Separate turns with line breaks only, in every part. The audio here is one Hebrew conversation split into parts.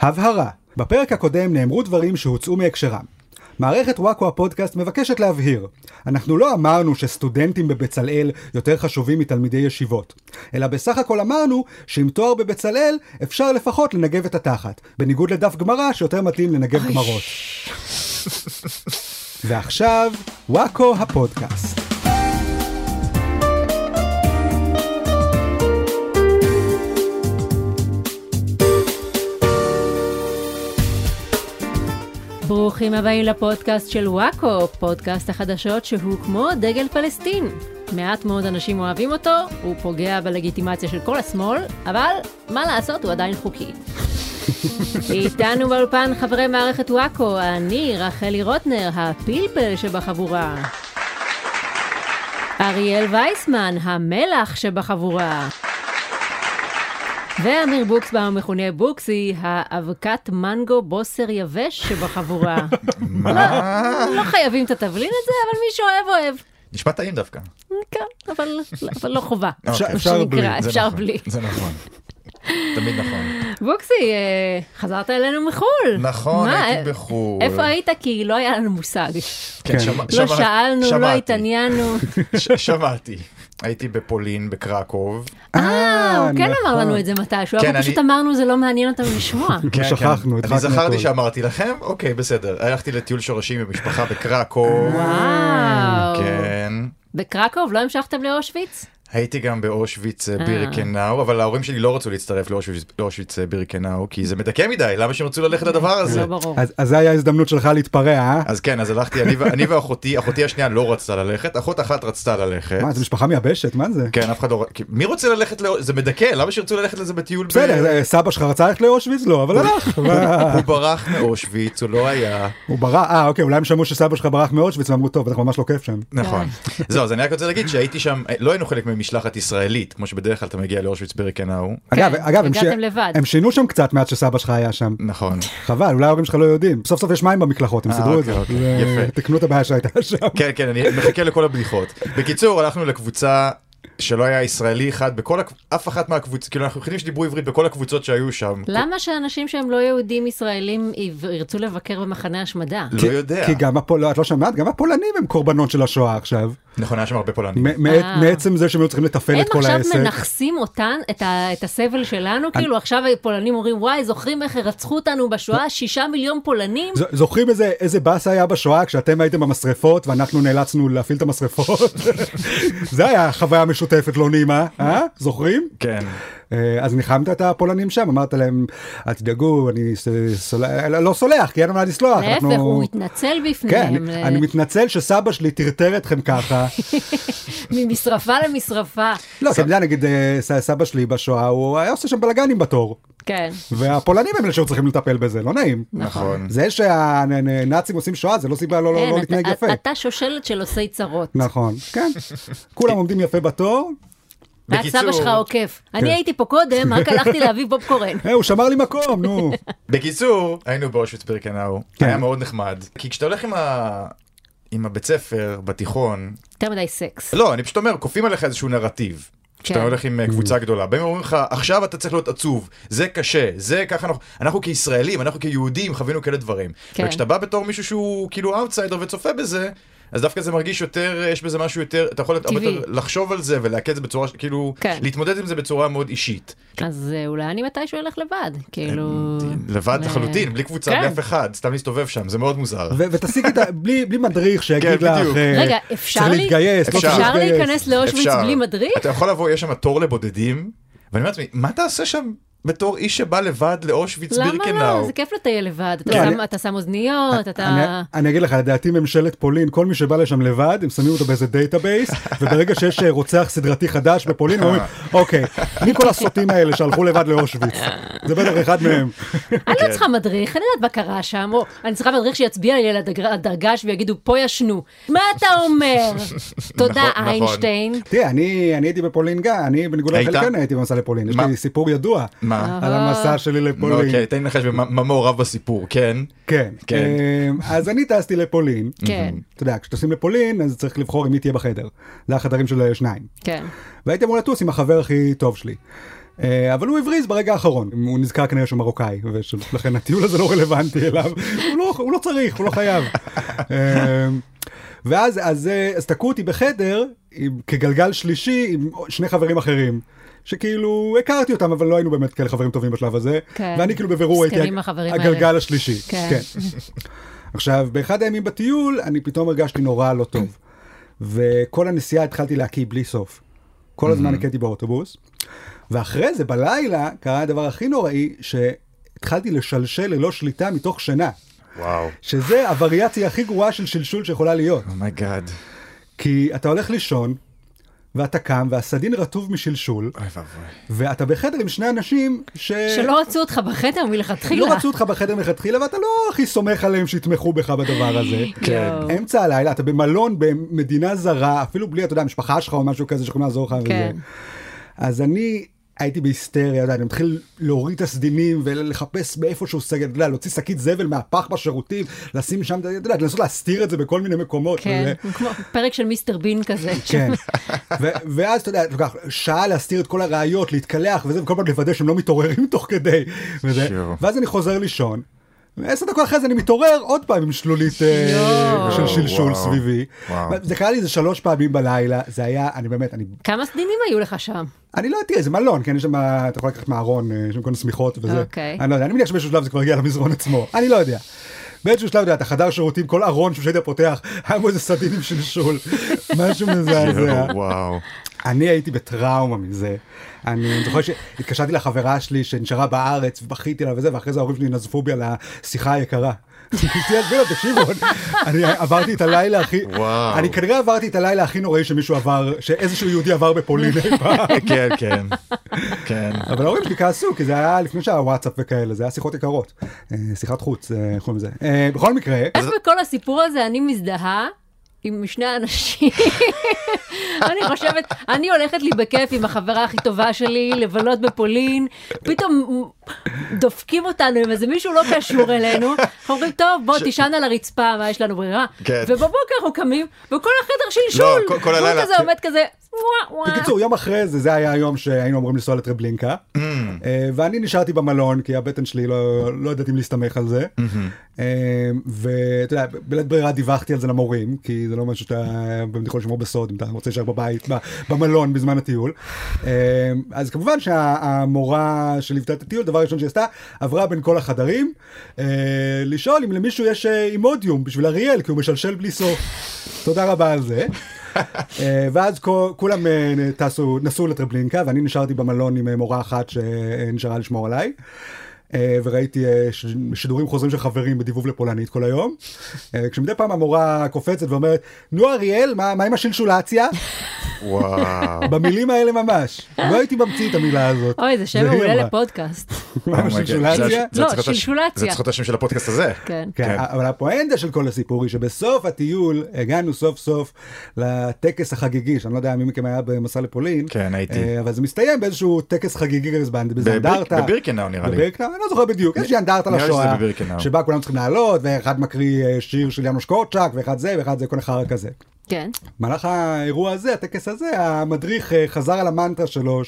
הבהרה בפרק הקודם נאמרו דברים שהוצאו מהקשרם. מערכת וואקו הפודקאסט מבקשת להבהיר, אנחנו לא אמרנו שסטודנטים בבצלאל יותר חשובים מתלמידי ישיבות, אלא בסך הכל אמרנו שעם תואר בבצלאל אפשר לפחות לנגב את התחת, בניגוד לדף גמרא שיותר מתאים לנגב
אוי,
גמרות. ועכשיו, וואקו הפודקאסט.
ברוכים הבאים לפודקאסט של וואקו, פודקאסט החדשות שהוא כמו דגל פלסטין. מעט מאוד אנשים אוהבים אותו, הוא פוגע בלגיטימציה של כל השמאל, אבל מה לעשות, הוא עדיין חוקי. איתנו באולפן חברי מערכת וואקו, אני רחלי רוטנר, הפלפל שבחבורה. אריאל וייסמן, המלח שבחבורה. ואמיר בוקסבאום המכונה בוקסי, האבקת מנגו בוסר יבש שבחבורה.
מה?
לא חייבים את התבלין הזה, אבל מי שאוהב אוהב.
נשמע טעים דווקא.
כן, אבל, אבל לא חובה.
אפשר-
אוקיי.
אפשר
שנקרא,
בלי,
זה
אפשר
נכון,
בלי.
זה נכון. תמיד נכון.
בוקסי, אה, חזרת אלינו מחו"ל.
נכון,
מה,
הייתי
אה,
בחו"ל.
איפה היית? כי לא היה לנו מושג.
כן,
כן.
שמע-
לא
שמע-
שאלנו, לא
שמעתי.
התעניינו.
ש- שמעתי. הייתי בפולין, בקרקוב.
אה, הוא כן אמר
נכון.
לנו את זה מתישהו,
כן,
אנחנו
אני-
פשוט אמרנו זה לא מעניין אותנו לשמוע.
כן, שכחנו, הדחקנו
אני זכרתי
הכל.
שאמרתי לכם, אוקיי, בסדר. הלכתי לטיול שורשים עם משפחה בקרקוב.
וואו.
כן.
בקרקוב לא המשכתם לאושוויץ?
הייתי גם באושוויץ אה,
אה.
בירקנאו, אבל ההורים שלי לא רצו להצטרף לאושוויץ- לאושוויץ אה, בירקנאו, כי זה מדכא מדי, למה שהם רצו ללכת לדבר הזה?
לא ברור.
אז אז זה היה ההזדמנות שלך להתפרע, אה?
אז כן, אז הלכתי, אני ו- אני ואחותי, אחותי השנייה לא רצתה ללכת, אחות אחת רצתה ללכת.
מה, זו משפחה מייבשת, מה זה?
כן, אף אחד לא... כי מי רוצה ללכת ל... זה מדכא, למה שירצו ללכת לזה בטיול? ב-
בסדר, אה, סבא שלך רצה ללכת לאושוויץ? לא, אבל הלך. מה?
הוא ברח מאושוויץ, הוא לא היה...
הוא ברח, אה, אוקיי, אולי הם שמעו שסבא שלך ברח מאושוויץ, ואמרו, טוב, בטח ממש לא כיף שם.
נכון. זהו, אז אני רק רוצה להגיד שהייתי שם, לא היינו חלק ממשלחת ישראלית, כמו שבדרך כלל אתה מגיע לאושוויץ ברקנאו.
אגב, אגב, הם ש-
כן, הגעתם לבד.
הם שינו שם קצת מאז שסבא שלך היה שם.
נכון.
חבל, אולי ההורים שלך לא יודעים. סוף סוף יש מים במקלחות, הם
אה,
סידרו את זה.
אוקיי, אוקיי,
זה-
יפה.
תקנו את הבעיה שהייתה שם.
כן, כן, אני מחכה לכל הבדיחות. בקיצור, הלכנו לקבוצה שלא היה ישראלי אחד בכל הקב... אף אחת מהקבוצות, כאילו אנחנו היחידים שדיברו עברית בכל הקבוצות שהיו שם.
למה שאנשים שהם לא יהודים ישראלים יב- ירצו לבקר במחנה השמדה?
לא
כי-
יודע.
כי גם הפול... לא, את לא שמעת? גם הפולנים הם קורבנות של השואה עכשיו.
נכון, היה שם הרבה פולנים.
מ- מעת-
אה.
מעצם זה שהם היו צריכים לתפעל
הם
לא את כל
עכשיו
העסק.
מנכסים אותן, את, ה, את הסבל שלנו, כאילו עכשיו הפולנים אומרים, וואי, זוכרים איך רצחו אותנו בשואה, שישה מיליון פולנים?
ז- זוכרים איזה, איזה באסה היה בשואה כשאתם הייתם במשרפות ואנחנו נאלצנו להפעיל את המשרפות? זה היה חוויה משותפת לא נעימה, אה? זוכרים?
כן.
אה, אז ניחמת את הפולנים שם, אמרת להם, אל תדאגו, אני ס- סולח, לא לא סולח, כי אין מה לסלוח.
להפך,
אנחנו-
הוא מתנצל
כן,
בפניהם,
אני-
אה,
אני מתנצל שסבא שלי טרטר אתכם ככה.
ממשרפה למשרפה.
לא, אתה יודע, נגיד אה, ס- סבא שלי בשואה, הוא אה, היה עושה שם בלאגנים בתור.
כן,
והפולנים הם אלה שהיו צריכים לטפל בזה, לא נעים.
נכון.
זה שהנאצים עושים שואה זה לא סיבה לא- לא
כן,
לא
אתה-
להתנהג
אתה-
יפה.
אתה שושלת של עושי צרות.
נכון, כן. כולם עומדים יפה בתור,
רק
בקיצור-
סבא שלך עוקף.
כן.
אני הייתי פה קודם, רק הלכתי להביא פופקורן.
אה, הוא שמר לי מקום, נו.
בקיצור, היינו באושוויץ בירקנאו,
כן.
היה מאוד נחמד, כי כשאתה הולך עם ה... עם הבית ספר בתיכון,
יותר מדי סקס.
לא, אני פשוט אומר, כופים עליך איזשהו נרטיב. כשאתה
כן.
הולך עם אה, קבוצה גדולה, באים ואומרים לך, עכשיו אתה צריך להיות עצוב, זה קשה, זה ככה אנחנו, אנחנו כישראלים, אנחנו כיהודים חווינו כאלה דברים.
כן.
וכשאתה בא בתור מישהו שהוא כאילו אאוטסיידר וצופה בזה, אז דווקא זה מרגיש יותר, אה, יש בזה משהו יותר, אתה יכול הרבה
טבעי.
יותר לחשוב על זה ולהקד את זה בצורה, ש- כאילו,
כן.
להתמודד עם זה בצורה מאוד אישית.
אז אה, אולי אני מתישהו אלך לבד, כאילו...
לבד
ל-
לחלוטין, בלי קבוצה,
כן.
בלי אף אחד, סתם להסתובב שם, זה מאוד מוזר.
ו- ותשיגי את ה... בלי בלי מדריך שיגיד
כן,
לך,
בדיוק.
אה,
רגע, אפשר
צריך
לי-
להתגייס, לא צריך
אפשר
אפשר
להתגייס.
להיכנס לאושוויץ
אפשר.
בלי מדריך?
אתה יכול לבוא, יש שם תור לבודדים, ואני אומר לעצמי, מה תעשה שם בתור איש שבא לבד לאושוויץ
למה לא?
בירקנאו?
זה כיף לטייל לבד. אתה
כן. אה,
שם- אתה שם אוזניות, אתה...
אני- אני אגיד לך, לדעתי ממשלת פולין, כל מי שבא לשם לבד, הם שמים אותו באיזה דייטאבייס, וברגע שיש אה, רוצח סדרתי חדש בפולין, הם אומרים, אוקיי, מי כל הסוטים האלה שהלכו לבד לאושוויץ? זה בטח אחד מהם.
אני
כן.
לא צריכה מדריך, אני יודעת מה קרה שם, או אני צריכה מדריך שיצביע לי על הדג- הדרגש ויגידו, פה ישנו. מה אתה אומר? תודה,
נכון, נכון.
איינשטיין.
תראה, אני אני הייתי בפולין גם, אני בניגוד
היית?
לחלקן הייתי במסע לפולין, יש
מה?
לי סיפור ידוע
מה?
על המסע שלי
נו,
לפולין.
אוקיי, תן לי לנחש במה מה מעורב בסיפור, כן?
כן.
כן.
אמ, אז אני טסתי לפולין.
כן,
אתה יודע, כשטסים לפולין, אז צריך לבחור עם מי תהיה בחדר. זה החדרים של אה, שניים.
כן.
והייתי אמור לטוס עם החבר הכי טוב שלי. אה, אבל הוא הבריז ברגע האחרון. הוא נזכר כנראה שהוא מרוקאי, ולכן הטיול הזה לא רלוונטי אליו. הוא לא, הוא לא צריך, הוא לא חייב. אה, ואז אז, אה, אז תקעו אותי בחדר עם, כגלגל שלישי עם שני חברים אחרים. שכאילו הכרתי אותם אבל לא היינו באמת כאלה חברים טובים בשלב הזה
כן.
ואני כאילו בבירור הייתי
מסכנים
הג-
החברים האלה.
הגלגל השלישי.
כן.
עכשיו באחד הימים בטיול אני פתאום הרגשתי נורא לא טוב וכל הנסיעה התחלתי להקיא בלי סוף. כל הזמן
Mm-hmm.
הכיתי באוטובוס. ואחרי זה בלילה קרה הדבר הכי נוראי שהתחלתי לשלשל ללא שליטה מתוך שינה.
וואו.
שזה הווריאציה הכי גרועה של שלשול שיכולה להיות.
Oh אומייגאד.
כי אתה הולך לישון, ואתה קם, והסדין רטוב משלשול,
אוי ואבוי.
ואתה בחדר עם שני אנשים ש...
שלא רצו אותך בחדר מלכתחילה.
לא רצו אותך בחדר מלכתחילה, ואתה לא הכי סומך עליהם שיתמכו בך בדבר הזה.
כן.
יואו.
אמצע הלילה, אתה במלון במדינה זרה, אפילו בלי, אתה יודע, המשפחה שלך או משהו כזה שיכולים לעזור לך
כן.
וזה. אז אני הייתי בהיסטריה, אתה יודע, אני מתחיל להוריד את הסדינים ולחפש באיפשהו סגל, אתה יודע, להוציא שקית זבל מהפח בשירותים, לשים שם, אתה יודע, לנסות להסתיר את זה בכל מיני מקומות.
כן,
וזה.
כמו פרק של מיסטר בין כזה.
כן. ו- ואז אתה יודע, אתה לוקח שעה להסתיר את כל הראיות, להתקלח וזה, וכל פעם לוודא שהם לא מתעוררים תוך כדי. וזה.
שיו.
ואז אני חוזר לישון. עשר דקות אחרי זה אני מתעורר עוד פעם עם שלולית אה,
יואו.
של שלשול
וואו.
סביבי.
וואו.
זה קרה לי איזה שלוש פעמים בלילה, זה היה, אני באמת, אני,
כמה סדינים היו לך שם?
אני לא יודעת, זה מלון, כן, יש שם, אתה יכול לקחת מהארון, אה, יש שם כל מיני שמיכות וזה.
אוקיי.
אני לא יודע, אני מניח שבאיזשהו שלב זה כבר הגיע למזרון עצמו, אני לא יודע. באיזשהו שלב, אתה יודע, אתה חדר שירותים, כל ארון שהיית פותח, היה בו איזה סדין עם שלשול, משהו מזעזע.
לא, וואו.
אני הייתי בטראומה מזה. אני זוכר שהתקשרתי לחברה שלי שנשארה בארץ ובכיתי לה וזה, ואחרי זה ההורים שלי נזפו בי על השיחה היקרה. אמרתי, "עזבי אותי, תקשיבו, אני עברתי את הלילה הכי,
וואו.
אני כנראה עברתי את הלילה הכי נוראי שמישהו עבר, שאיזשהו יהודי עבר בפולין אי פעם.
כן, כן. כן.
אבל ההורים שלי כעסו, כי זה היה לפני שהיה וואטסאפ וכאלה, זה היה שיחות יקרות. אה, שיחת חוץ, אה, איך קוראים לזה. אה, בכל מקרה,
איך בכל הסיפור הזה אני מזדהה עם שני האנשים? אני חושבת, אני הולכת לי בכיף עם החברה הכי טובה שלי לבלות בפולין, פתאום דופקים אותנו עם איזה מישהו לא קשור אלינו, אנחנו אומרים, טוב, בוא תישן על הרצפה, מה יש לנו ברירה?
כן.
ובבוקר אנחנו קמים, וכל החדר שלשול,
לא, כל- כל
והוא
הלילה.
כזה עומד כזה, וואו וואו.
בקיצור, יום אחרי זה, זה היה היום שהיינו אמורים לנסוע לטרבלינקה, אה, ואני נשארתי במלון, כי הבטן שלי לא, לא יודעת אם להסתמך על זה. אה, ואתה יודע, בלית ברירה דיווחתי על זה למורים, כי זה לא משהו שאתה באמת יכול לשמור בסוד, אם אתה רוצה להישאר בבית, ב- במלון, בזמן הטיול. אה, אז כמובן שהמורה שליוותה את הטיול, דבר ראשון שהיא עשתה, עברה בין כל החדרים, אה, לשאול אם למישהו יש אה, אימודיום בשביל אריאל, כי הוא משלשל בלי סוף. תודה רבה על זה. אה, ואז כו- כולם אה, טסו, נסעו לטרבלינקה, ואני נשארתי במלון עם אה, מורה אחת שנשארה לשמור עליי. אה, וראיתי אה, ש- שידורים חוזרים של חברים בדיבוב לפולנית כל היום. אה, כשמדי פעם המורה קופצת ואומרת, נו אריאל, מה מה עם השלשולציה?
וואו.
במילים האלה ממש. לא הייתי ממציא את המילה הזאת.
אוי, זה שם
היא
מעולה
אמרה.
לפודקאסט.
מה עם השלשולציה?
Oh זה- זה
לא,
צריך להיות הש-
שלשולציה.
זה צריך להיות השם של הפודקאסט הזה.
כן.
כן,
כן.
אבל הפואנטה של כל הסיפור היא שבסוף הטיול הגענו סוף סוף לטקס החגיגי, שאני לא יודע מי מכם היה במסע לפולין.
כן, הייתי.
אה, אבל זה מסתיים באיזשהו טקס חגיגי כזה, באנד- באיזה
בביר-
אנדרטה.
בבירקנאו, נראה לי.
בבירקנאו, אני לא זוכר בדיוק, איזושהי אנדרטה
נראה לי שזה
לשואה,
בבירקנאו.
שבה כולם צריכים לעלות, ואחד מקריא אה, שיר של יאנוש קורצ'אק, ואחד זה, ואחד זה, כל אחד כזה.
כן.
במהלך האירוע הזה, הטקס הזה, המדריך אה, חזר על המנטרה שלו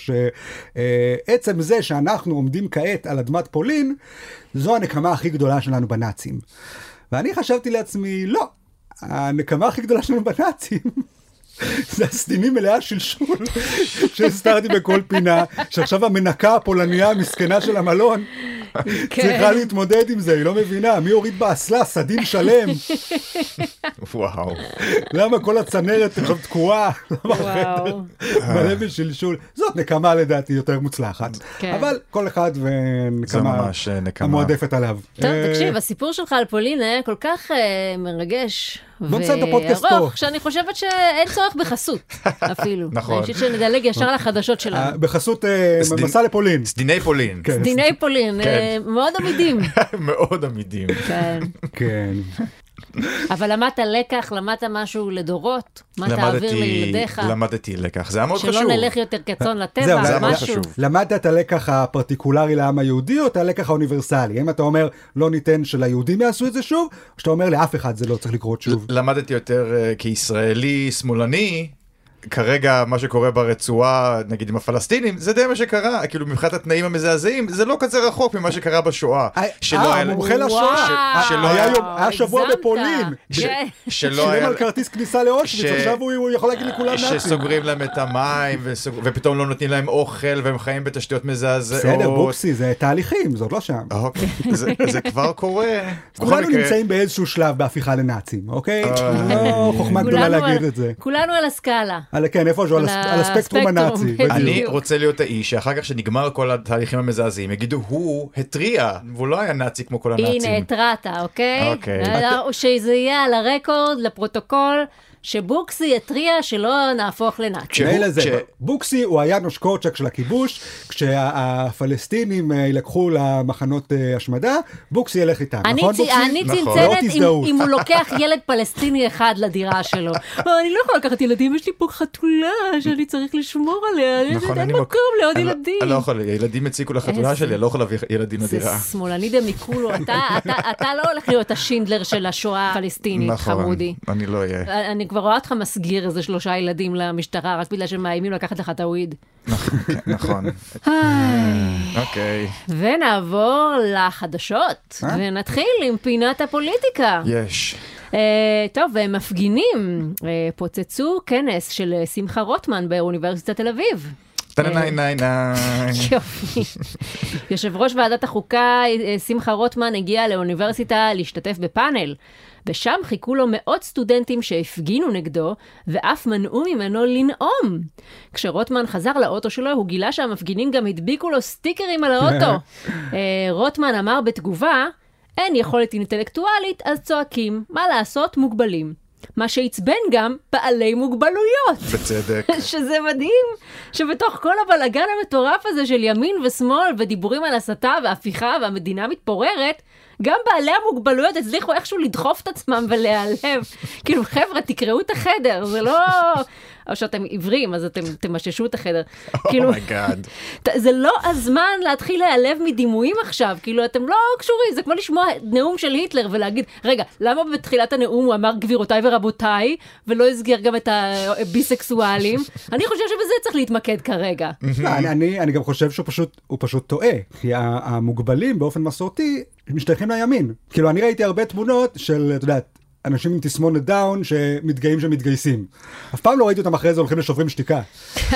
שעצם זה שאנחנו עומדים כעת על אדמת פולין, זו הנקמה הכי גדולה שלנו בנאצים. ואני חשבתי לעצמי, לא, הנקמה הכי גדולה שלנו בנאצים. זה הסדינים מלאה שלשול שהסתרתי בכל פינה, שעכשיו המנקה הפולניה המסכנה של המלון
כן.
צריכה להתמודד עם זה, היא לא מבינה, מי הוריד באסלה סדין שלם?
וואו.
למה כל הצנרת עכשיו תקועה? למה
וואו.
מלא בשלשול. זאת נקמה לדעתי יותר מוצלחת.
כן.
אבל כל אחד
זה
ונקמה
ממש אה, נקמה.
המועדפת עליו.
טוב,
אה,
תקשיב, הסיפור שלך על פולין היה כל כך אה, מרגש.
בוא נסיים את הפודקאסט פה.
וארוך, שאני חושבת שאין צורך בחסות אפילו.
נכון.
אני חושבת שנדלג ישר לחדשות
אה,
שלנו.
בחסות אה,
סדין-
מסע לפולין.
סדיני פולין.
כן.
דיני פולין, אה, מאוד עמידים.
מאוד עמידים.
כן.
כן.
אבל למדת לקח, למדת משהו לדורות, מה תעביר לילדיך,
למדתי לקח. זה היה מאוד חשוב.
שלא נלך יותר כצאן
אה, זהו,
לטבע,
זה היה
מאוד
משהו.
חשוב.
למדת את הלקח הפרטיקולרי לעם היהודי או את הלקח האוניברסלי? אם אתה אומר לא ניתן שליהודים יעשו את זה שוב, או שאתה אומר לאף אחד זה לא צריך לקרות שוב.
למדתי יותר אה, כישראלי שמאלני, כרגע מה שקורה ברצועה, נגיד עם הפלסטינים, זה די מה שקרה, כאילו מבחינת התנאים המזעזעים, זה לא כזה רחוק ממה שקרה בשואה. שלא
אה,
היה-
המומחה לשואה.
וואו,
שלא
היה יום-
הגזמת. כן.
היה שבוע בפולין.
ש-
שלא
שילם
היה...
על כרטיס כניסה לאושוויץ,
ש-
עכשיו הוא הוא יכול להגיד לכולם נאצים.
שסוגרים להם את המים, וסוג- ופתאום לא נותנים להם אוכל, והם חיים בתשתיות מזעזעות.
בסדר, בוקסי, זה תהליכים, זה עוד לא שם.
אוקיי, זה- זה כבר קורה. בכל
כולנו
מקרה-
נמצאים באיזשהו שלב בהפיכה לנאצים, אוקיי?
אה.
לא חוכמה גדולה
כולנו
להגיד
על-
את זה.
כולנו על הסקאלה.
על כן, איפה שהוא? על הס-
על
על הספקטרום
הספקטרום,
הנאצי.
כן.
בדיוק.
אני
בדיוק.
רוצה להיות האיש שאחר כך שנגמר כל התהליכים המזעזעים, יגידו, הוא התריע, והוא לא היה נאצי כמו כל הנאצים.
הנה, התרעת, אוקיי?
אוקיי.
אה, שזה יהיה על הרקורד, לפרוטוקול, שבוקסי התריע שלא נהפוך לנאצי.
כשהוא-
מילא זה,
כש-
בוקסי הוא היה נושק קוצ'ק של הכיבוש, כשהפלסטינים אה, יילקחו למחנות אה, השמדה, בוקסי ילך איתם,
אני,
נכון
צ...
בוקסי?
אני
נכון.
לא
צנצנת אם,
תזדהות.
אם הוא לוקח ילד פלסטיני אחד לדירה שלו. אבל אני לא יכולה לקחת ילדים, יש לי פה חתולה שאני צריך לשמור עליה, אני
נכון,
אין
אני
מקום
מק-
לעוד
אני לא-
ילדים.
אני לא יכול, ילדים הציקו לחתונה
איזה-
שלי, אני לא יכול להביא ילדים
זה
לדירה.
שמאלני דמיקולו, אתה, אתה, אתה לא הולך להיות השינדלר של השואה הפלסטינית,
נכון,
חמודי.
אני לא אהיה.
אני כבר רואה אותך מסגיר איזה שלושה ילדים למשטרה, רק בגלל שהם מאיימים לקחת לך את הוויד.
נכון, אוקיי,
ונעבור לחדשות,
אה?
ונתחיל עם פינת הפוליטיקה.
יש.
אה, טוב, אה, מפגינים אה, פוצצו כנס של אה, שמחה רוטמן באוניברסיטת תל אביב.
טננאי נאי נאי.
יופי. יושב ראש ועדת החוקה, אה, שמחה רוטמן, הגיע לאוניברסיטה להשתתף בפאנל, ושם חיכו לו מאות סטודנטים שהפגינו נגדו, ואף מנעו ממנו לנאום. כשרוטמן חזר לאוטו שלו, הוא גילה שהמפגינים גם הדביקו לו סטיקרים על האוטו. אה, רוטמן אמר בתגובה, אין יכולת אינטלקטואלית, אז צועקים, מה לעשות, מוגבלים. מה שעצבן גם בעלי מוגבלויות.
בצדק.
שזה מדהים, שבתוך כל הבלגן המטורף הזה של ימין ושמאל ודיבורים על הסתה והפיכה והמדינה מתפוררת, גם בעלי המוגבלויות הצליחו איכשהו לדחוף את עצמם ולהיעלב. כאילו, חבר'ה, תקראו את החדר, זה לא... או שאתם עיוורים, אז אתם תמששו את החדר.
Oh
כאילו,
אומייגאד.
ת- זה לא הזמן להתחיל להיעלב מדימויים עכשיו, כאילו, אתם לא קשורים, זה כמו לשמוע נאום של היטלר ולהגיד, רגע, למה בתחילת הנאום הוא אמר גבירותיי ורבותיי, ולא הסגר גם את הביסקסואלים? אני חושב שבזה צריך להתמקד כרגע.
לא, אני- אני- אני גם חושב שהוא פשוט, הוא פשוט טועה, כי ה- המוגבלים באופן מסורתי משתייכים לימין. כאילו אני ראיתי הרבה תמונות של, את יודעת, אנשים עם תסמונת דאון שמתגאים שמתגייסים. אף פעם לא ראיתי אותם אחרי זה הולכים לשוברים שתיקה.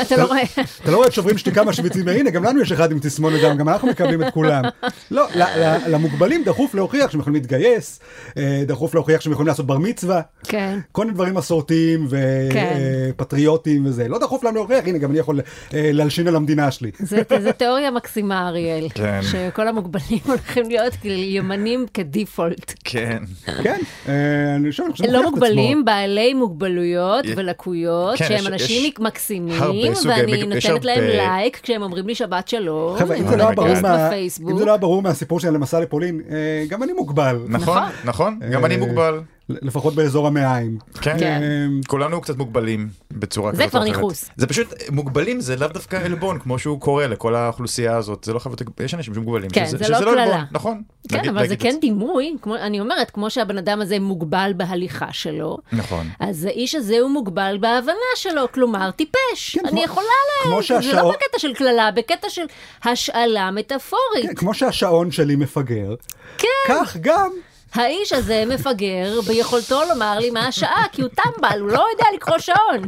אתה לא רואה?
אתה לא רואה את שוברים שתיקה משוויצים, הנה גם לנו יש אחד עם תסמונת דם, גם אנחנו מקבלים את כולם. לא, ל- ל- למוגבלים דחוף להוכיח שהם יכולים להתגייס, אה, דחוף להוכיח שהם יכולים לעשות בר מצווה.
כן.
כל מיני דברים מסורתיים
כן.
ופטריוטיים וזה, לא דחוף להם להוכיח, הנה גם אני יכול אה, להלשין על המדינה שלי.
זה, זה תיאוריה מקסימה, אריאל,
כן.
שכל המוגבלים הולכים להיות כאילו ימנים כדיפולט.
כן.
כן, אה, אני חושב, אני חושב,
לא
מוכיח את עצמו.
מוגבלים, בעלי מוגבלויות
י-
ולקויות,
כן,
שהם
יש-
אנשים
יש
מקסימים,
הרבה סוגי
ואני
מג- יש
נותנת להם
הרבה-
לייק כשהם אומרים לי שבת שלום.
חבר'ה, אם
הם
זה לא היה
עושים
ברור
פוסט
מה- אם
בפייסבוק.
זה לא היה ברור מהסיפור שלי על המסע לפולין, אה, גם אני מוגבל,
נכון, נכון, גם אני
אה,
מוגבל.
לפחות באזור המעיים.
כן.
כן.
אה,
כולנו קצת מוגבלים בצורה
זה
כזאת או
כבר
אחרת.
ניכוס.
זה פשוט, מוגבלים זה לאו דווקא עלבון, כמו שהוא קורא לכל האוכלוסייה הזאת. זה לא חייב להיות, יש אנשים שמוגבלים.
כן,
שזה-
זה
שזה
לא קללה.
עלבון, נכון.
כן,
נגיד-
אבל זה
נגיד
כן
את
דימוי, כמו- אני אומרת, כמו שהבן אדם הזה מוגבל בהליכה שלו,
זה. נכון.
אז האיש הזה הוא מוגבל בהבנה שלו, כלומר טיפש.
כן,
אני
כמו-
יכולה
כמו
ל... זה לא
שהשעון-
בקטע של קללה, בקטע של השאלה מטאפורית.
כן, כמו שהשעון שלי מפגר, כך גם
כן, האיש הזה מפגר ביכולתו לומר לי מה השעה, כי הוא טמבל, הוא לא יודע לקרוא שעון.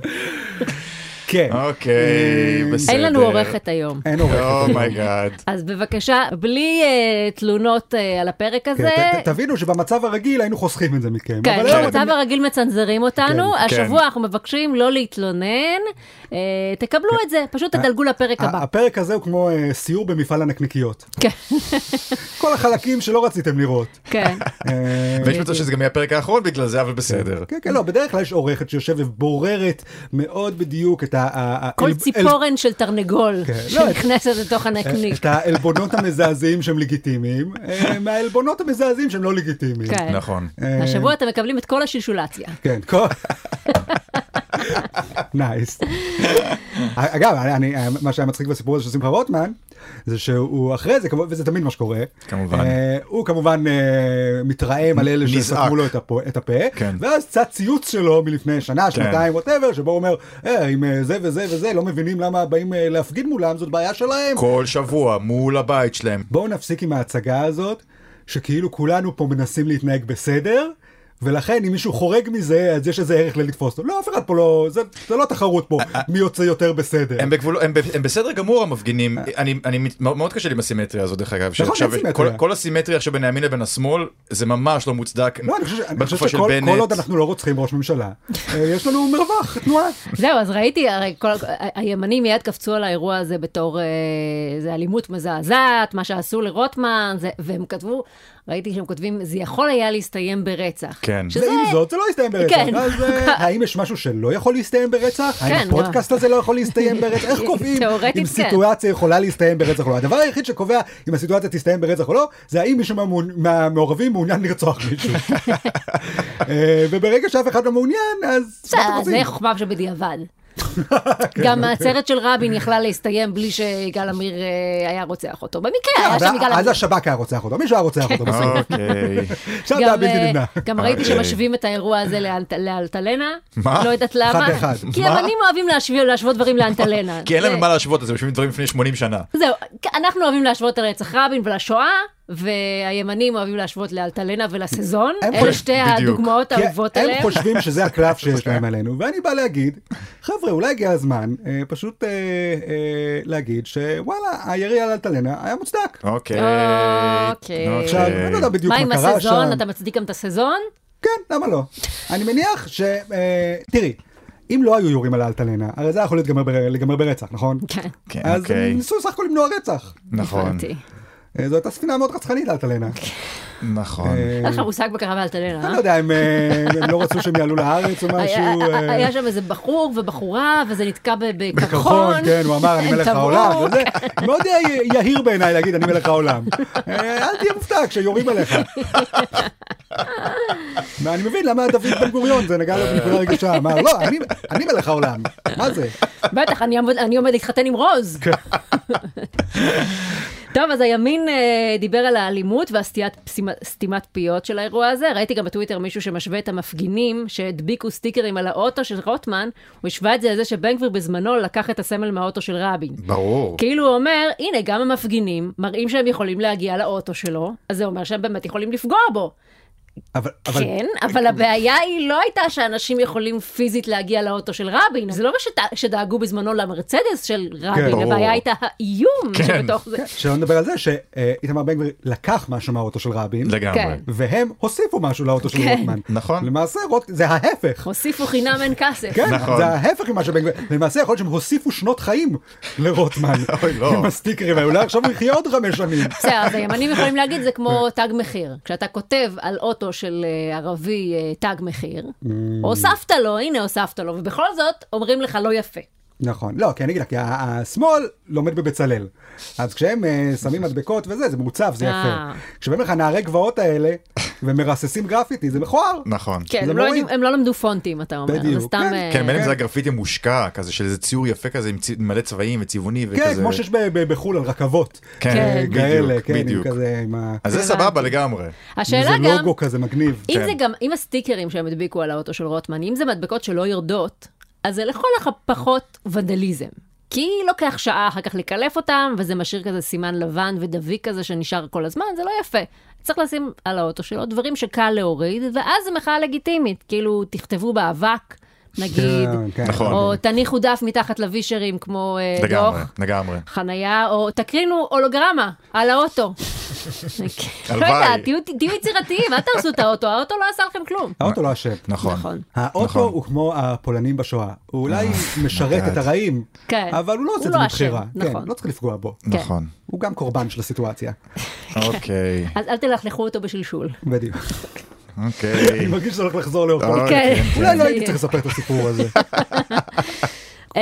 כן.
אוקיי, בסדר.
אין לנו עורכת היום.
אין
Oh
עורך.
אומייגאד.
אז בבקשה, בלי אה, תלונות אה, על הפרק הזה.
כן, תבינו שבמצב הרגיל היינו חוסכים את זה מכם.
כן,
אבל היום
במצב
אתם-
הרגיל מצנזרים אותנו,
כן, כן.
השבוע אנחנו מבקשים לא להתלונן, אה, תקבלו
כן.
את זה, פשוט
אה,
תדלגו לפרק
ה-
הבא.
הפרק הזה הוא כמו אה, סיור במפעל הנקניקיות.
כן,
כל החלקים שלא רציתם לראות.
כן.
אה,
ויש מצב שזה גם יהיה הפרק האחרון בגלל זה, אבל בסדר.
כן, כן, לא, בדרך כלל יש עורכת שיושבת ובוררת מאוד בדיוק את ה... ה- ה-
כל
אל-
ציפורן של תרנגול
כן, לא, את-
שנכנסת לתוך
אל-
הנקניק.
את העלבונות המזעזעים שהם לגיטימיים, אה, מהעלבונות המזעזעים שהם לא לגיטימיים.
כן.
נכון.
אה,
השבוע אתם מקבלים את כל השלשולציה.
כן, כל- נייס. אגב, אני, מה שהיה מצחיק בסיפור הזה של שמחה רוטמן, זה שהוא אחרי זה, כמו- וזה תמיד מה שקורה,
כמובן.
אה, הוא כמובן אה, מתרעם על אלה
נזעק.
שסתמו לו את הפו- את הפה,
כן.
ואז צץ ציוץ שלו מלפני שנה, שנתיים, ווטאבר, שבו הוא אומר, "אה, אם אה, זה וזה וזה לא מבינים למה באים אה, להפגין מולם, זאת בעיה שלהם.
כל שבוע מול הבית שלהם.
בואו נפסיק עם ההצגה הזאת, שכאילו כולנו פה מנסים להתנהג בסדר. ולכן אם מישהו חורג מזה אז יש איזה ערך ללתפוס אותו. לא אף אחד פה לא זה, זה לא תחרות פה מי יוצא יותר בסדר.
הם, בגבול, הם, ב- הם בסדר גמור המפגינים, אני, אני מת- מאוד קשה לי עם הסימטריה הזאת דרך אגב, שעכשיו
אה. נכון, אין
כל,
סימטריה.
כל הסימטריה שבין הימין לבין השמאל זה ממש לא מוצדק,
לא, אני חושב, ש- אני חושב
בתקופה של
שכל
בנט.
כל עוד אנחנו לא רוצחים ראש ממשלה אה, יש לנו מרווח תנועה.
זהו, אז ראיתי, הרי כל, ה- הימנים מיד קפצו על האירוע הזה בתור, אה, זה אלימות מזעזעת, מה שעשו לרוטמן, זה, והם כתבו, ראיתי שהם כותבים, זה יכול היה להסתיים ברצח.
כן.
שזה,
ועם זאת זה לא יסתיים ברצח.
כן.
אז אה, האם יש משהו שלא יכול להסתיים ברצח?
כן,
האם הפודקאסט הזה לא יכול להסתיים ברצח? איך קובעים
תיאורטית,
אם
כן.
סיטואציה יכולה להסתיים ברצח או לא? הדבר היחיד שקובע אם הסיטואציה תסתיים ברצח או לא, זה האם מישהו מהמעונ- מהמעורבים מעוניין לרצוח מישהו. אה, וברגע שאף אחד לא מעוניין, אז מה אתם
בסדר,
רוצים?
זה חוכמה שבדיעבד.
כן.
גם העצרת של רבין יכלה להסתיים בלי שיגאל עמיר אה, היה רוצח אותו. במקרה, היה
לא, אבל
שם יגאל
אז
עמיר.
השב"כ היה רוצח אותו, מישהו היה רוצח אותו בסוף.
אוקיי,
שם זה היה
גם, אה,
בלתי נמנע.
גם ראיתי
אוקיי.
שמשווים את האירוע הזה לאנט- לאלטלנה.
מה?
לא יודעת למה.
לאחד.
כי
מה?
יוונים אוהבים להשוויל- להשוות דברים לאנטלנה.
כי אין
זה-
להם מה להשוות את זה, בשביל דברים לפני 80 שנה.
זהו, אנחנו אוהבים להשוות את רצח רבין ולשואה, והימנים אוהבים להשוות לאלטלנה ולסזון.
הם
אלה
חושבים-
שתי
בדיוק.
הדוגמאות
כי
האהובות
כן, הם
עליהם.
חושבים שזה הקלף שיש להם עלינו, ואני בא להגיד, חבר'ה, אולי הגיע הזמן אה, פשוט אה, אה, להגיד שוואלה, הירי על אלטלנה היה מוצדק.
אוקיי,
אוקיי.
עכשיו, אני לא יודע בדיוק
מה עם
מה קרה שם.
הסזון? אתה מצדיק גם את הסזון?
כן, למה לא? אני מניח ש... אה, תראי, אם לא היו יורים על אלטלנה, הרי זה היה יכול להיגמר בר- להיגמר ברצח, נכון?
כן.
כן,
אז
אוקיי.
הם ניסו סך הכל למנוע רצח.
נכון,
הבנתי.
אה, זו הייתה ספינה מאוד רצחנית, אלטלנה.
כן.
נכון,
אה,
אין לך מושג מה קרה באלטלנה,
אני
אה?
לא יודע, הם אה, הם לא רצו שהם יעלו לארץ או משהו.
היה-
אה,
היה שם איזה בחור ובחורה, וזה נתקע ב- בקרחון.
בקרחון, כן, הוא אמר, אני מלך
תמרוק.
העולם. וזה מאוד יה- יהיר בעיניי להגיד, אני מלך העולם. אה, אל תהיה מופתע כשיורים עליך. ואני מבין למה דוד בן גוריון, זה נגע לו בנקודה רגישה, אמר, לא, אני- אני מלך העולם, מה זה?
בטח, אני עומד- אני עומד להתחתן עם רוז. טוב, אז הימין אה, דיבר על האלימות והסתימת פסימה- סתימת פיות של האירוע הזה. ראיתי גם בטוויטר מישהו שמשווה את המפגינים שהדביקו סטיקרים על האוטו של רוטמן, הוא השווה את זה לזה שבן גביר בזמנו לקח את הסמל מהאוטו של רבין.
ברור.
כאילו הוא אומר, הנה, גם המפגינים מראים שהם יכולים להגיע לאוטו שלו, אז זה אומר שהם באמת יכולים לפגוע בו.
אבל, אבל,
כן, אבל הבעיה היא לא הייתה שאנשים יכולים פיזית להגיע לאוטו של רבין. זה לא מה שד- שדאגו בזמנו למרצדס של רבין,
ברור.
הבעיה הייתה האיום
כן.
שבתוך זה.
שלא נדבר על זה שאיתמר בן גביר לקח משהו מהאוטו של רבין,
לגמרי.
כן.
והם הוסיפו משהו לאוטו של
כן.
רוטמן.
נכון.
למעשה, רוט- זה ההפך.
הוסיפו חינם אין כסף.
כן,
נכון.
זה ההפך ממה שבן גביר, למעשה יכול להיות שהם הוסיפו שנות חיים לרוטמן,
אוי, לא.
עם הסטיקרים האלה, אולי עכשיו הוא יחיה עוד חמש שנים.
בסדר, אז הימנים יכולים להגיד זה כמו תג מחיר. כשאתה כותב על אוטו של אה, ערבי אה, תג מחיר,
Mm.
הוספת לו, הנה הוספת לו, ובכל זאת אומרים לך לא יפה.
נכון, לא, כי אני אגיד לך, כי ה- ה- השמאל לומד בבצלאל. אז כשהם אה, שמים מדבקות וזה, זה מעוצב, זה
אה.
יפה. כשבאים לך נערי גבעות האלה, ומרססים גרפיטי, זה מכוער.
נכון.
כן,
זה
הם לא,
מוריד.
יודעים, הם לא למדו פונטים, אתה אומר.
בדיוק,
זה סתם...
כן.
אה,
כן, בין אם זה הגרפיטי מושקע, כזה של איזה ציור יפה כזה עם צי- מלא צבעים וצבעוני וכזה.
כן, כמו שיש ב- ב- בחו"ל על רכבות.
כן.
אה,
בדיוק,
כאלה, כן, עם
בדיוק.
כזה, עם ה-
אז זה
הבנתי.
סבבה לגמרי.
עם
השאלה
איזה
גם,
לוגו כזה מגניב.
אם
כן.
זה גם, אם הסטיקרים שהם הדביקו על האוטו של רוטמן, אם זה מדבקות שלא יורדות, אז זה לכל הפחות ונדליזם. כי לוקח שעה אחר כך לקלף אותם, וזה משאיר כזה סימן לבן ודביק כזה שנשאר כל הזמן, זה לא יפה. צריך לשים על האוטו שלו דברים שקל להוריד, ואז זו מחאה לגיטימית. כאילו, תכתבו באבק, נגיד,
כן, כן.
נכון.
או תניחו דף מתחת לווישרים כמו אה, דוח.
לגמרי, לגמרי.
חנייה, או תקרינו הולוגרמה על האוטו.
הלוואי.
לא יודעת, תהיו- תהיו יצירתיים, אל תהרסו את האוטו, האוטו לא עשה לכם כלום.
האוטו לא אשם.
נכון.
נכון.
האוטו
נכון.
הוא כמו הפולנים בשואה, הוא אולי משרת
God.
את הרעים,
כן.
אבל הוא לא עושה
הוא
את זה
לא
מבחירה.
אשם,
כן,
נכון.
לא צריך לפגוע בו.
כן.
נכון.
הוא גם קורבן של הסיטואציה.
אוקיי,
אז אל תלכלכו אותו בשלשול.
בדיוק. אני
אוקיי.
מרגיש שזה הולך לחזור לאותו.
אוקיי.
כן.
אולי לא
זה
הייתי
יהיה.
צריך לספר את הסיפור הזה.
אמ,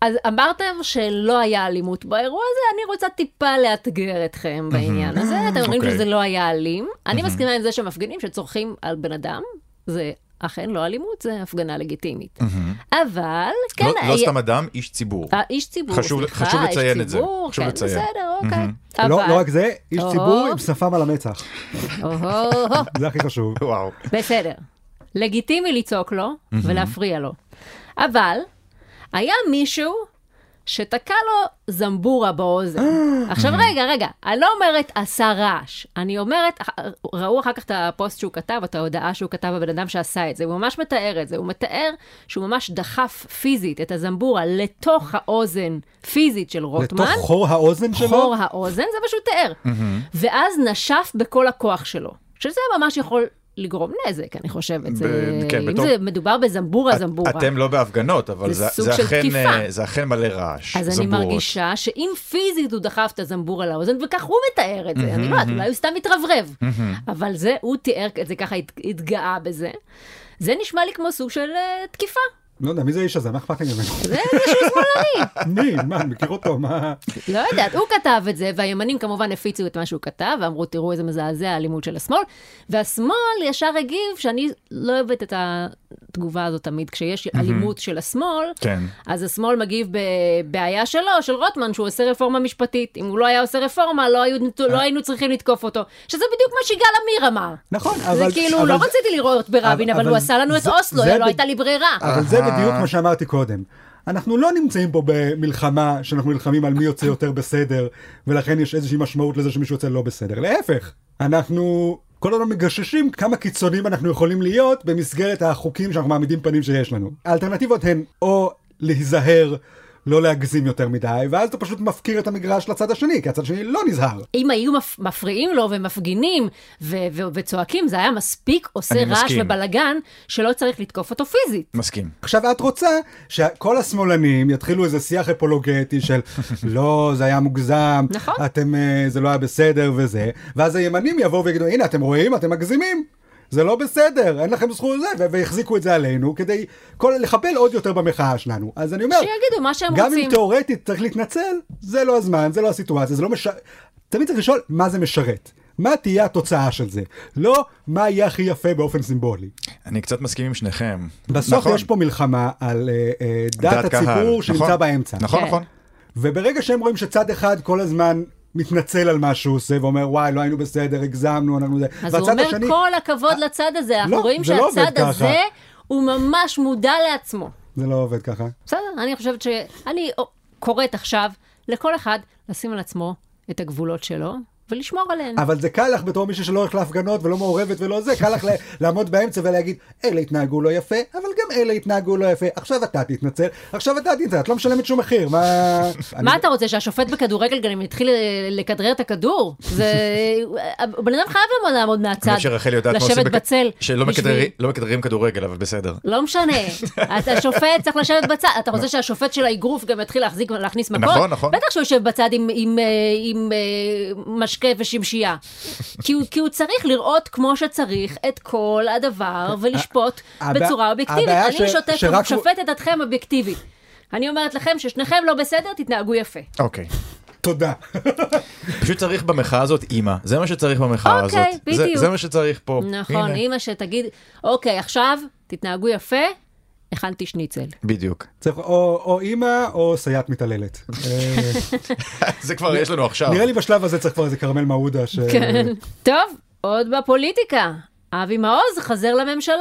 אז אמרתם שלא היה אלימות באירוע הזה, אני רוצה טיפה לאתגר אתכם בעניין הזה. אתם אומרים
אוקיי.
שזה לא היה אלים. אני מסכימה עם זה שמפגינים שצורכים על בן אדם, זה אכן לא אלימות, זה הפגנה לגיטימית. אבל כן...
לא, לא
היה-
סתם אדם, איש ציבור.
אה, איש ציבור,
חשוב-
סליחה,
חשוב
איש
לציין את זה,
ציבור,
חשוב
כן,
לציין. Mm-hmm.
בסדר, אוקיי. אבל...
לא, לא רק זה, איש
אוהו.
ציבור עם שפם על המצח.
אוהו,
זה הכי חשוב.
וואו.
בסדר. לגיטימי לצעוק לו
Mm-hmm.
ולהפריע לו. אבל היה מישהו שתקע לו זמבורה באוזן. עכשיו
Mm-hmm.
רגע, רגע, אני לא אומרת עשה רעש, אני אומרת, ראו אחר כך את הפוסט שהוא כתב, את ההודעה שהוא כתב לבן אדם שעשה את זה, הוא ממש מתאר את זה, הוא מתאר שהוא ממש דחף פיזית את הזמבורה לתוך האוזן פיזית של רוטמן.
לתוך חור האוזן שלו?
חור האוזן, זה מה שהוא תיאר. ואז נשף בכל הכוח שלו, שזה ממש יכול לגרום נזק, אני חושבת. זה-
ב- כן,
אם
בתור-
זה מדובר בזמבורה, זמבורה.
אתם לא בהפגנות, אבל
זה
זה,
סוג
זה
של
אכן,
תקיפה.
אה, זה אכן מלא רעש.
אז אני
זמבורות.
מרגישה שאם פיזית הוא דחף את הזמבורה לאוזן, וכך הוא מתאר את זה, אני לא יודעת, אולי הוא סתם מתרברב. אבל זה, הוא תיאר את זה ככה, הת- התגאה בזה. זה נשמע לי כמו סוג של אה, תקיפה.
לא יודע, מי זה האיש הזה? מה אכפת לי ממנו?
זה איזשהו שמאלני.
מי? מה, אני מכיר אותו? מה?
לא יודעת, הוא כתב את זה, והימנים כמובן הפיצו את מה שהוא כתב, ואמרו, תראו איזה מזעזע האלימות של השמאל, והשמאל ישר הגיב שאני לא אוהבת את התגובה הזאת תמיד, כשיש אלימות של השמאל,
כן.
אז השמאל מגיב בבעיה שלו, של רוטמן, שהוא עושה רפורמה משפטית. אם הוא לא היה עושה רפורמה, לא, היו,
אה.
לא היינו צריכים לתקוף אותו, שזה בדיוק מה שיגאל עמיר אמר.
נכון, אבל...
זה כאילו,
אבל
לא
זה-
רציתי לראות ברבין,
אבל-
אבל,
אבל
הוא עשה לנו
זה-
את אוסלו,
זה
לא
ב-
הייתה לי ברירה.
אבל זה בדיוק מה שאמרתי קודם. אנחנו לא נמצאים פה במלחמה שאנחנו נלחמים על מי יוצא יותר בסדר, ולכן יש איזושהי משמעות לזה שמישהו יוצא לא בסדר. להפך, אנחנו כל הזמן מגששים כמה קיצונים אנחנו יכולים להיות במסגרת החוקים שאנחנו מעמידים פנים שיש לנו. האלטרנטיבות הן או להיזהר. לא להגזים יותר מדי, ואז אתה פשוט מפקיר את המגרש לצד השני, כי הצד השני לא נזהר.
אם היו מפ... מפריעים לו ומפגינים ו... ו... וצועקים, זה היה מספיק עושה
אני
רעש
מסכים.
ובלגן, שלא צריך לתקוף אותו פיזית.
מסכים.
עכשיו את רוצה שכל השמאלנים יתחילו איזה שיח אפולוגטי של לא זה היה מוגזם
נכון.
אתם אה, זה לא היה בסדר וזה ואז הימנים יבואו ויגידו הנה אתם רואים אתם מגזימים. זה לא בסדר, אין לכם זכות לזה, ו- והחזיקו את זה עלינו כדי כל, לחבל עוד יותר במחאה שלנו. אז אני אומר,
שיגידו מה שהם
גם
רוצים.
אם תאורטית צריך להתנצל, זה לא הזמן, זה לא הסיטואציה, זה לא משרת. תמיד צריך לשאול מה זה משרת, מה תהיה התוצאה של זה, לא מה יהיה הכי יפה באופן סימבולי.
אני קצת מסכים עם שניכם.
בסוף
נכון.
יש פה מלחמה על אה, אה, דעת
דעת קהל.
הציבור שנמצא
נכון.
באמצע.
נכון,
כן.
נכון.
וברגע שהם רואים שצד אחד כל הזמן מתנצל על מה שהוא עושה ואומר וואי לא היינו בסדר הגזמנו אנחנו זה.
אז הוא
והצד
אומר,
השני-
כל הכבוד לצד הזה, אנחנו
לא,
רואים
זה לא עובד
שהצד
ככה.
הזה, הוא ממש מודע לעצמו.
זה לא עובד ככה.
בסדר, אני חושבת ש... אני או- קוראת עכשיו לכל אחד לשים על עצמו את הגבולות שלו ולשמור עליהן.
אבל זה קל לך בתור מישהי שלא הולך להפגנות ולא מעורבת ולא זה, קל לך ל- לעמוד באמצע ולהגיד, אלה התנהגו לא יפה, אבל גם אלה התנהגו לא יפה, עכשיו אתה תתנצל, עכשיו אתה תתנצל, את לא משלמת שום מחיר, מה...
מה אתה רוצה, שהשופט בכדורגל גם יתחיל אה, לכדרר את הכדור? זה... הבן אדם חייב לעמוד- לעמוד מהצד,
אני חושב שרחל יודעת מה עושים.
לשבת
בכ-
בצל.
שלא
בשביל-
מכדררים- לא מכדררים כדורגל, אבל בסדר.
לא משנה, אתה השופט צריך לשבת בצד, אתה רוצה שהשופט של האגרוף גם יתחיל להחזיק ולהכניס מכות?
נכון, נכון.
בטח שהוא יושב בצד עם, עם, אה, עם אה, משקה ושמשייה. כי, הוא- כי הוא צריך לראות כמו שצריך את כל הדבר ולשפוט
הבע-
בצורה אובייקטיבית.
הבעיה
אני
ש-
שוטפת-
שרק הוא-
שופטת אתכם אובייקטיבית. אני אומרת לכם ששניכם לא בסדר, תתנהגו יפה.
אוקיי.
תודה.
פשוט צריך במחאה הזאת אימא. זה מה שצריך במחאה הזאת.
אוקיי,
זה-
בדיוק.
זה מה שצריך פה.
נכון,
הנה.
אימא שתגיד, אוקיי, עכשיו תתנהגו יפה, הכנתי שניצל.
בדיוק.
צריך או או אימא או סייעת מתעללת. אה,
זה כבר יש לנו עכשיו.
נראה לי בשלב הזה צריך כבר איזה כרמל מעודה ש...
אה,
כן. טוב, עוד בפוליטיקה. אבי מעוז חזר לממשלה.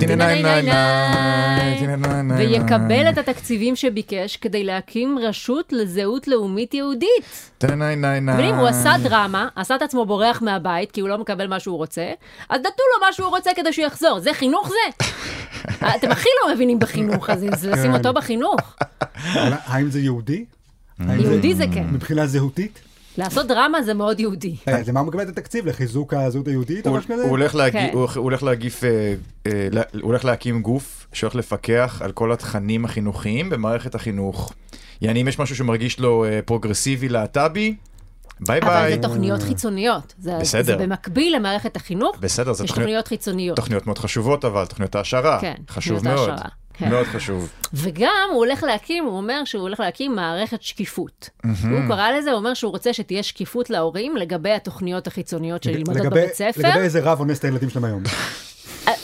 טינניי, ניי, ניי, טינניי, ניי,
ויקבל את התקציבים שביקש כדי להקים רשות לזהות לאומית יהודית.
טינניי, ניי, ניי.
מבינים, הוא עשה דרמה, עשה את עצמו בורח מהבית כי הוא לא מקבל מה שהוא רוצה, אז נתנו לו מה שהוא רוצה כדי שהוא יחזור. זה חינוך זה? אתם הכי לא מבינים בחינוך, אז אז
כן.
לשים אותו בחינוך.
אבל האם זה יהודי? האם זה-
יהודי זה כן.
מבחינה זהותית?
לעשות דרמה זה מאוד יהודי.
אה, למה הוא מקבל את התקציב? לחיזוק הזהות היהודית או
כן. הוא-
משהו כזה?
הוא הולך להגי-
כן.
הוא הולך- הוא הולך להגיף, אה, אה, לה- הוא הולך להקים גוף שהולך לפקח על כל התכנים החינוכיים במערכת החינוך. יעני, אם יש משהו שמרגיש לו אה, פרוגרסיבי להט"בי, ביי
אבל
ביי.
זה תוכניות חיצוניות. זה-
בסדר.
זה במקביל למערכת החינוך,
בסדר, זה
יש
תוכניות-
תוכניות חיצוניות.
תוכניות מאוד חשובות אבל, תוכניות העשרה.
כן,
אה, חשוב
תוכניות
מאוד.
העשרה, כן.
מאוד חשוב.
וגם הוא הולך להקים, הוא אומר שהוא הולך להקים מערכת שקיפות. הוא קרא לזה, הוא אומר שהוא רוצה שתהיה שקיפות להורים לגבי התוכניות החיצוניות שנלמדות
לגבי-
בבית ספר. אה,
לגבי איזה רב אונס את הילדים שלהם היום.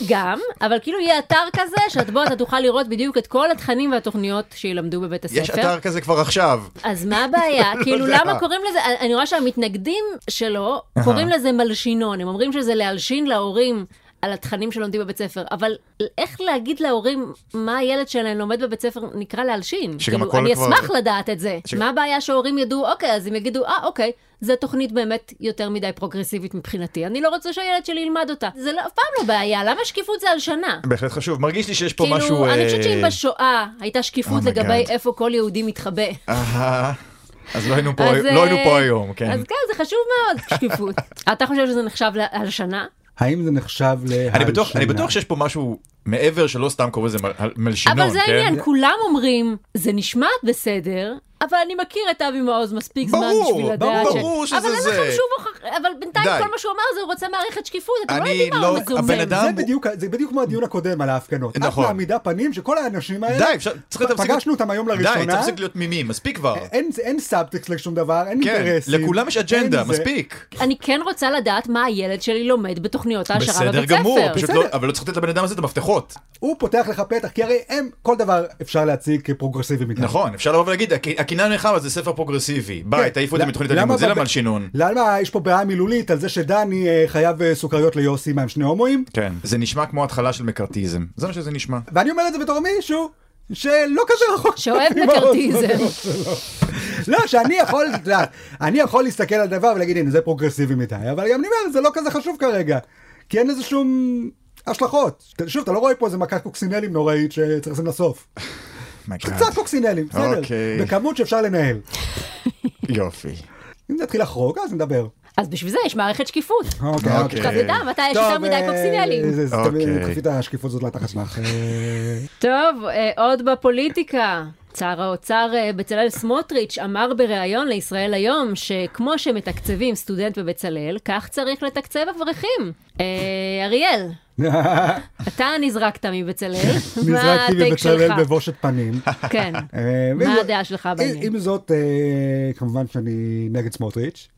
גם, אבל כאילו יהיה אתר כזה, שאת בו אתה תוכל לראות בדיוק את כל התכנים והתוכניות שילמדו בבית הספר.
יש אתר כזה כבר עכשיו.
אז מה הבעיה?
לא
כאילו,
יודע.
למה קוראים לזה, אני רואה שהמתנגדים שלו קוראים לזה מלשינון, הם אומרים שזה להלשין להורים. על התכנים שלומדים בבית ספר, אבל איך להגיד להורים מה הילד שלהם לומד בבית ספר נקרא להלשין?
שגם
כאילו,
הכל
אני
כבר-
אשמח לדעת את זה.
ש-
מה הבעיה שההורים ידעו, אוקיי, אז הם יגידו, אה, אוקיי, זו תוכנית באמת יותר מדי פרוגרסיבית מבחינתי, אני לא רוצה שהילד שלי ילמד אותה. זה לא- אף פעם לא בעיה, למה שקיפות זה הלשנה?
בהחלט חשוב, מרגיש לי שיש פה
כאילו,
משהו...
אני
אה,
חושבת שאם בשואה הייתה שקיפות
Oh my
לגבי
God.
איפה כל יהודי מתחבא.
אהה. אז לא היינו פה-
אז,
לא היינו
אה,
פה היום, כן.
אז כן, זה חשוב מאוד, שקיפות. אתה חושב שזה נחשב להלשנה?
האם זה נחשב להלשנה?
אני בטוח, אני בטוח שיש פה משהו מעבר שלא סתם קורא לזה מל- מלשינון,
אבל זה
כן?
העניין, כולם אומרים, זה נשמעת בסדר, אבל אני מכיר את אבי מעוז מספיק זמן
ברור,
בשביל לדעת ש...
ברור שזה
אבל
זה.
אין לכם שום הוכחה, אבל בינתיים
די.
כל מה שהוא אמר זה הוא רוצה מערכת שקיפות, אתם לא
אני
יודעים מה
לא-
הוא מזומזם.
הבן אדם-
זה בדיוק, זה בדיוק כמו הדיון הקודם על ההפגנות.
נכון.
את מעמידה פנים שכל האנשים האלה,
די, אפשר- צריך
פ-
להפסיק-
פגשנו אותם היום
די,
לראשונה,
צריך להפסיק להיות תמימים, מספיק כבר.
אין, אין סאבטקסט לשום דבר, אין
כן,
אינטרסים.
לכולם יש אג'נדה,
אין זה.
מספיק.
אני כן רוצה לדעת מה הילד שלי לומד בתוכניות העשרה
בסדר
בבית
גמור,
ספר.
פשוט
בסדר.
לא- אבל לא צריך לתת לבן אדם הזה את המפתחות.
הוא פותח לך פתח, כי הרי הם, כל דבר אפשר להציג כפרוגרסיבי מדי.
נכון, אפשר לבוא ולהגיד, "הק- הקינן מלחמה זה ספר פרוגרסיבי. ביי,
כן. כן,
תעיפו את זה
למה-
מתוכנית
למה
הלימוד, זה
בב-
למלשינון.
למה יש פה בעיה מילולית על זה שדני אה, חייב אה, סוכריות ליוסי מה הם שני הומואים?
כן. זה נשמע כמו התחלה של מקארתיזם. זה מה שזה נשמע.
ואני אומר את זה בתור מישהו שלא כזה רחוק.
שאוהב
עם האוזן
מקארתיזם.
שלו. לא, שאני יכול, את יודעת, אני יכול להסתכל על דבר ולהגיד, הנה, זה פרוגרסיבי מדי, אבל גם אני אומר, זה לא כזה חשוב כרגע, כי אין לזה שום השלכות. שוב, אתה לא רואה פה איזה מכת קוקסינלים נוראית שצריך לשים לסוף. קצת קוקסינלים, בסדר,
אוקיי.
בכמות שאפשר לנהל.
יופי.
אם נתחיל לחרוג, אז נדבר.
אז בשביל זה יש מערכת שקיפות.
אוקיי,
אוקיי.
עכשיו נדע מתי יש יותר מדי
אה,
קוקסינלים.
אוקיי.
אוקיי.
תקפי את השקיפות הזאת לתחת שלך. אה,
טוב, אה, עוד בפוליטיקה. שר האוצר אה, בצלאל סמוטריץ' אמר בריאיון לישראל היום שכמו שמתקצבים סטודנט בבצלאל, כך צריך לתקצב אברכים. אה, אריאל, אתה נזרקת מבצלאל, מה
כן, נזרקתי
הטייק
בבצלאל
שלך?
בבושת פנים.
כן,
אה,
מה
אם זאת-
הדעה שלך בעניין?
עם זאת, אה, כמובן שאני נגד סמוטריץ',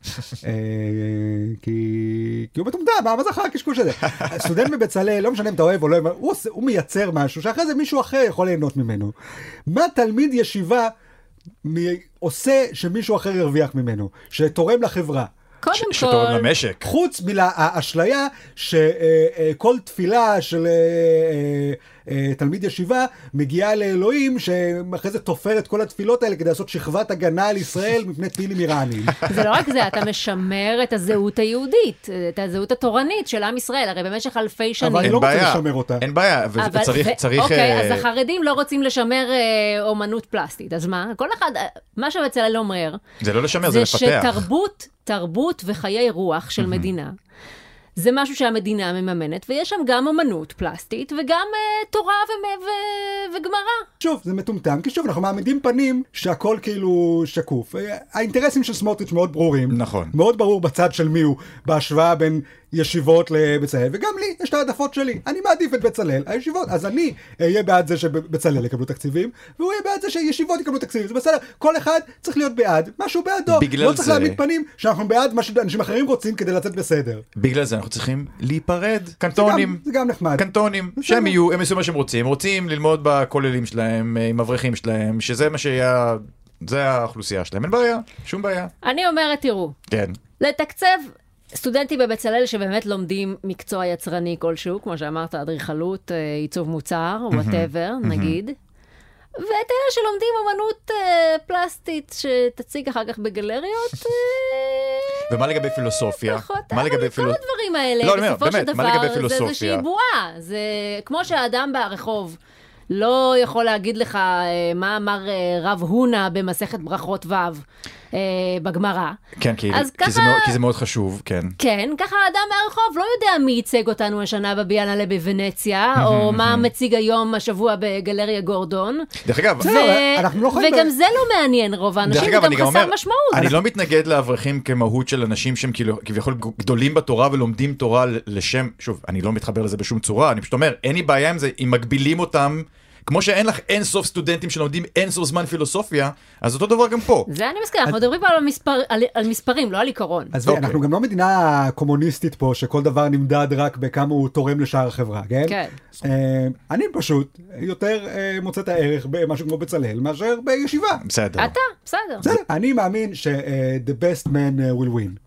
אה, כי כי הוא מטומטם, מה מה זה אחר הקשקוש הזה? סטודנט מבצלאל, לא משנה אם אתה אוהב או לא, אוהב, הוא עושה- הוא מייצר משהו שאחרי זה מישהו אחר יכול ליהנות ממנו. מה תלמיד ישיבה מ- עושה שמישהו אחר ירוויח ממנו, שתורם לחברה?
קודם
שתורם
כל,
למשק.
חוץ מהאשליה שכל תפילה של אה, אה, אה, תלמיד ישיבה מגיעה לאלוהים, שאחרי זה תופר את כל התפילות האלה כדי לעשות שכבת הגנה על ישראל מפני טילים איראניים.
זה לא רק זה, אתה משמר את הזהות היהודית, את הזהות התורנית של עם ישראל, הרי במשך אלפי שנים...
אני
אין
לא רוצה
בעיה.
לשמר אותה.
אין בעיה, אבל
אבל-
צריך,
ו-
צריך...
אוקיי,
אה,
אז החרדים לא רוצים לשמר אה, אומנות פלסטית, אז מה? כל אחד, אה, מה שבצלאל אומר,
זה לא לשמר, זה
זה
לפתח.
שתרבות, תרבות וחיי רוח של מדינה, זה משהו שהמדינה מממנת, ויש שם גם אומנות פלסטית, וגם אה, תורה ומ- ו- וגמרא.
שוב, זה מטומטם, כי שוב, אנחנו מעמידים פנים שהכל כאילו שקוף. אה, האינטרסים של סמוטריץ' מאוד ברורים.
נכון.
מאוד ברור בצד של מי הוא, בהשוואה בין ישיבות לבצלאל, וגם לי יש את העדפות שלי. אני מעדיף את בצלאל, הישיבות. אז אני אהיה בעד זה שבצלאל יקבלו תקציבים, והוא יהיה בעד זה שישיבות יקבלו תקציבים. זה בסדר, כל אחד צריך להיות בעד מה שהוא בעדו.
בגלל
לא צריך
זה-
להעמיד פנים שאנחנו בעד מה שאנשים אחרים רוצים כדי לצאת בסדר.
בגלל זה אנחנו צריכים להיפרד. קנטונים.
זה גם נחמד.
קנטונים,
בסדר.
שהם יהיו, הם יעשו מה שהם רוצים, רוצים ללמוד בכוללים שלהם, אה, עם אברכים שלהם, שזה מה שהיה, זה האוכלוסייה שלהם, אין בעיה, שום בעיה.
אני אומרת, תראו,
כן.
לתקצב סטודנטים בבצלאל שבאמת לומדים מקצוע יצרני כלשהו, כמו שאמרת, אדריכלות, אה, עיצוב מוצר, וואטאבר, נגיד. ואת אלה שלומדים אמנות אה, פלסטית שתציג אחר כך בגלריות, אה,
ומה לגבי פילוסופיה?
פחות,
מה
נכון, אבל
לגבי
כל
פילוס-
הדברים
לא,
האלה,
אני אומר,
בסופו של
באמת, מה לגבי
דבר, זה
פילוסופיה?
איזושהי בועה. זה כמו שהאדם ברחוב לא יכול להגיד לך אה, מה אמר אה, רב הונא במסכת ברכות ו' אה, בגמרא.
כן, כי
אז
כי זה
ככה-
מאוד- כי זה מאוד חשוב, כן.
כן, ככה האדם מהרחוב לא יודע מי ייצג אותנו השנה בביאנלה בוונציה, או מה מציג היום השבוע בגלריה גורדון.
דרך אגב,
זה- לא, אבל אנחנו לא חיים
וגם
ב-
זה לא מעניין רוב האנשים, זה גם חסר משמעות.
אני לא מתנגד לאברכים כמהות של אנשים שהם כאילו- כביכול גדולים בתורה ולומדים תורה ל- לשם, שוב, אני לא מתחבר לזה בשום צורה, אני פשוט אומר, אין לי בעיה עם זה, אם מגבילים אותם כמו שאין לך אין סוף סטודנטים שלומדים אין סוף זמן פילוסופיה, אז אותו דבר גם פה.
זה אני מסכים, אנחנו מדברים פה על המספר- על- על מספרים, לא על עיקרון.
אז
אוקיי.
אנחנו גם לא מדינה קומוניסטית פה, שכל דבר נמדד רק בכמה הוא תורם לשאר החברה, כן?
כן.
אה, אני פשוט יותר אה, מוצא את הערך במשהו כמו בצלאל מאשר בישיבה.
בסדר.
אתה, בסדר.
בסדר, אני מאמין ש- אה, the best man אה, will win.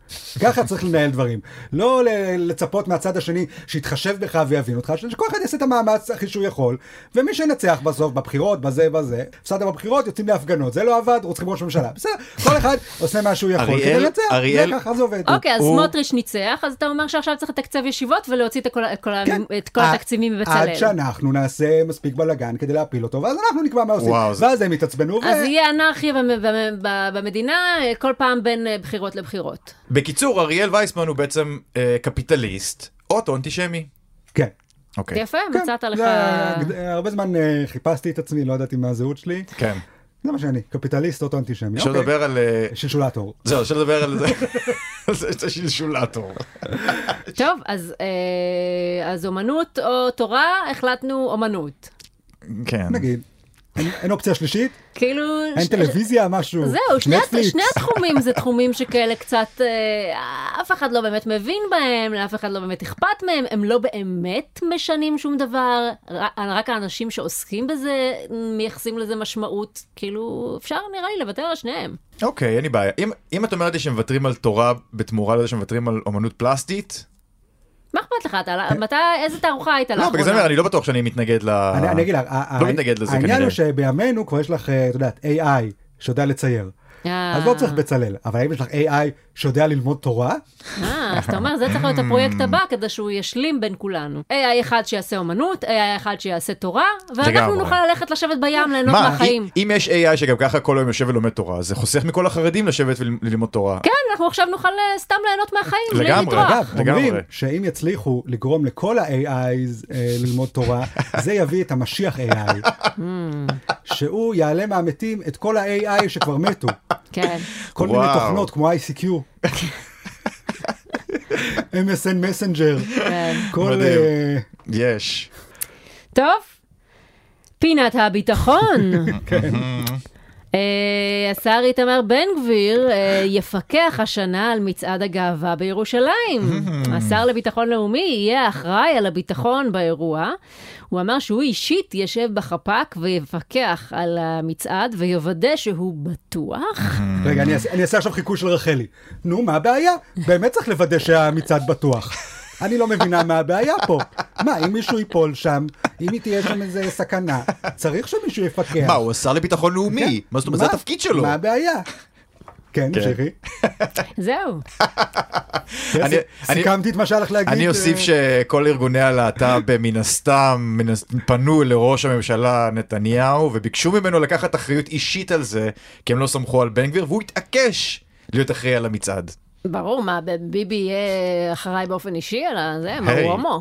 ככה צריך לנהל דברים. לא ל- לצפות מהצד השני שיתחשב בך ויבין אותך, ש- שכל אחד יעשה את המאמץ הכי שהוא יכול, ומי שינצח בסוף בבחירות, בזה, בזה, הפסדת בבחירות, יוצאים להפגנות, זה לא עבד, רוצחים ראש ממשלה. בסדר, כל אחד עושה מה שהוא יכול כדי
אריאל-
לנצח, זה
אריאל- אה,
ככה זה עובד.
אוקיי, אז
הוא-
סמוטריץ' ניצח, אז אתה אומר שעכשיו צריך לתקצב ישיבות ולהוציא את כל ה- כל ה-
כן.
את כל
עד-
התקציבים
עד
מבצלאל.
שאנחנו נעשה מספיק בלאגן כדי להפיל אותו, ואז אנחנו נקבע מה עושים.
וואו, זה-
ואז הם יתעצבנו, ו-
אז יהיה אנרכיה במ- במ- ב- במדינה אה, כל פעם בין אה, בחירות לבחירות.
בקיצור, אריאל וייסמן הוא בעצם אה, קפיטליסט, אוטו אנטישמי.
כן.
אוקיי.
יפה,
כן,
מצאת
זה
לך...
היה- הרבה זמן אה, חיפשתי את עצמי, לא ידעתי מה הזהות שלי.
כן.
זה מה שאני, קפיטליסט אוקיי. אוטו-אנטישמי.
אפשר לדבר על... אה,
שלשולטור.
זהו, אפשר לדבר על זה. זה זה שלשולטור.
טוב, אז, אה, אז אומנות או תורה, החלטנו אומנות.
כן.
נגיד. אין- אין אופציה שלישית?
כאילו...
אין
ש-
טלוויזיה, משהו?
זהו, שני,
נטפליקס?
שני התחומים זה תחומים שכאלה קצת, אה, אף אחד לא באמת מבין בהם, לאף אחד לא באמת אכפת מהם, הם לא באמת משנים שום דבר, ר- רק האנשים שעוסקים בזה מייחסים לזה משמעות, כאילו, אפשר נראה לי לוותר על שניהם.
אוקיי, אין לי בעיה. אם- אם את אומרת לי שמוותרים על תורה בתמורה לזה שמוותרים על אומנות פלסטית,
מה אכפת לך, אתה,
כן.
מתי, איזה תערוכה הייתה
לא,
לאחרונה?
בגלל זה אני אומר, אני לא בטוח שאני מתנגד ל...
אני אני אגיד לך, ה-
לא
ה-
מתנגד לזה
העניין
כנראה.
הוא שבימינו כבר יש לך, אה, את יודעת, AI שיודע לצייר.
אה.
אז לא צריך בצלאל, אבל האם יש לך AI שיודע ללמוד תורה?
אה, אז אתה אומר, זה צריך להיות הפרויקט הבא
Hmm.
כדי שהוא ישלים בין כולנו. AI אחד שיעשה אומנות, AI אחד שיעשה תורה, ואנחנו
לגמרי.
נוכל ללכת לשבת בים, ליהנות
מה,
מהחיים.
אם- אם יש AI שגם ככה כל היום יושב ולומד תורה, זה חוסך מכל החרדים לשבת וללמוד תורה.
כן, אנחנו עכשיו נוכל אה, סתם ליהנות מהחיים, בלי
לגמרי.
לטרוח.
אגב,
לגמרי.
אומרים שאם יצליחו לגרום לכל ה-AIs אה, ללמוד תורה, זה יביא את המשיח AI, שהוא יעלה מהמתים את כל ה-AI שכבר מתו.
כן.
כל מיני
וואו.
תוכנות כמו ICQ. MSN מסנג'ר,
כן.
כל...
מדהים.
אה,
יש.
טוב, פינת הביטחון. אה, השר איתמר בן גביר אה, יפקח השנה על מצעד הגאווה בירושלים. השר לביטחון לאומי יהיה האחראי על הביטחון באירוע. הוא אמר שהוא אישית ישב בחפ"ק ויפקח על המצעד ויוודא שהוא בטוח.
Hmm.
רגע, אני אעשה- אני אעשה עכשיו חיקוי של רחלי. נו, מה הבעיה? באמת צריך לוודא שהמצעד בטוח. אני לא מבינה מה הבעיה פה. מה, אם מישהו ייפול שם, אם היא תהיה שם איזה סכנה, צריך שמישהו יפקח.
מה, הוא השר לביטחון לאומי? מה זאת אומרת? זה התפקיד שלו.
כן. מה הבעיה? כן,
כן.
שירי.
זהו.
אני-
ס- סיכמתי את מה שהיה לך להגיד.
אני אוסיף
אה,
שכל ארגוני הלהט"ב מן הסתם מן הס- פנו לראש הממשלה נתניהו וביקשו ממנו לקחת אחריות אישית על זה, כי הם לא סמכו על בן גביר, והוא התעקש להיות אחראי על המצעד.
ברור, מה, ביבי יהיה אחראי באופן אישי על זה? מה,
היי.
הוא הומו.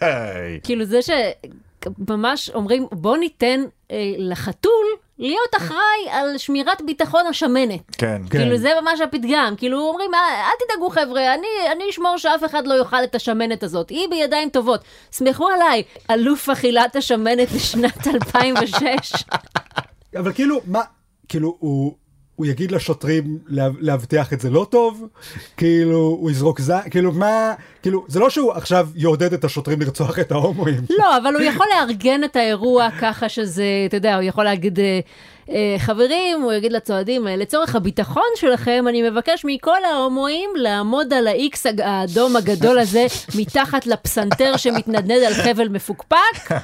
היי.
כאילו זה שממש אומרים, בוא ניתן אה, לחתול להיות אחראי על שמירת ביטחון השמנת.
כן.
כן.
כאילו זה ממש הפתגם, כאילו אומרים, "אה, אל תדאגו חבר'ה, אני, אני אשמור שאף אחד לא יאכל את השמנת הזאת, היא בידיים טובות. סמכו עליי, אלוף אכילת השמנת בשנת 2006.
אבל כאילו, מה, כאילו, הוא... הוא יגיד לשוטרים לה- להבטיח את זה לא טוב, כאילו הוא יזרוק זין, כאילו מה, כאילו זה לא שהוא עכשיו יעודד את השוטרים לרצוח את ההומואים.
לא, אבל הוא יכול לארגן את האירוע ככה שזה, אתה יודע, הוא יכול להגיד, אה, אה, חברים, הוא יגיד לצועדים, אה, לצורך הביטחון שלכם, אני מבקש מכל ההומואים לעמוד על האיקס הג- האדום הגדול הזה, מתחת לפסנתר שמתנדנד על חבל מפוקפק,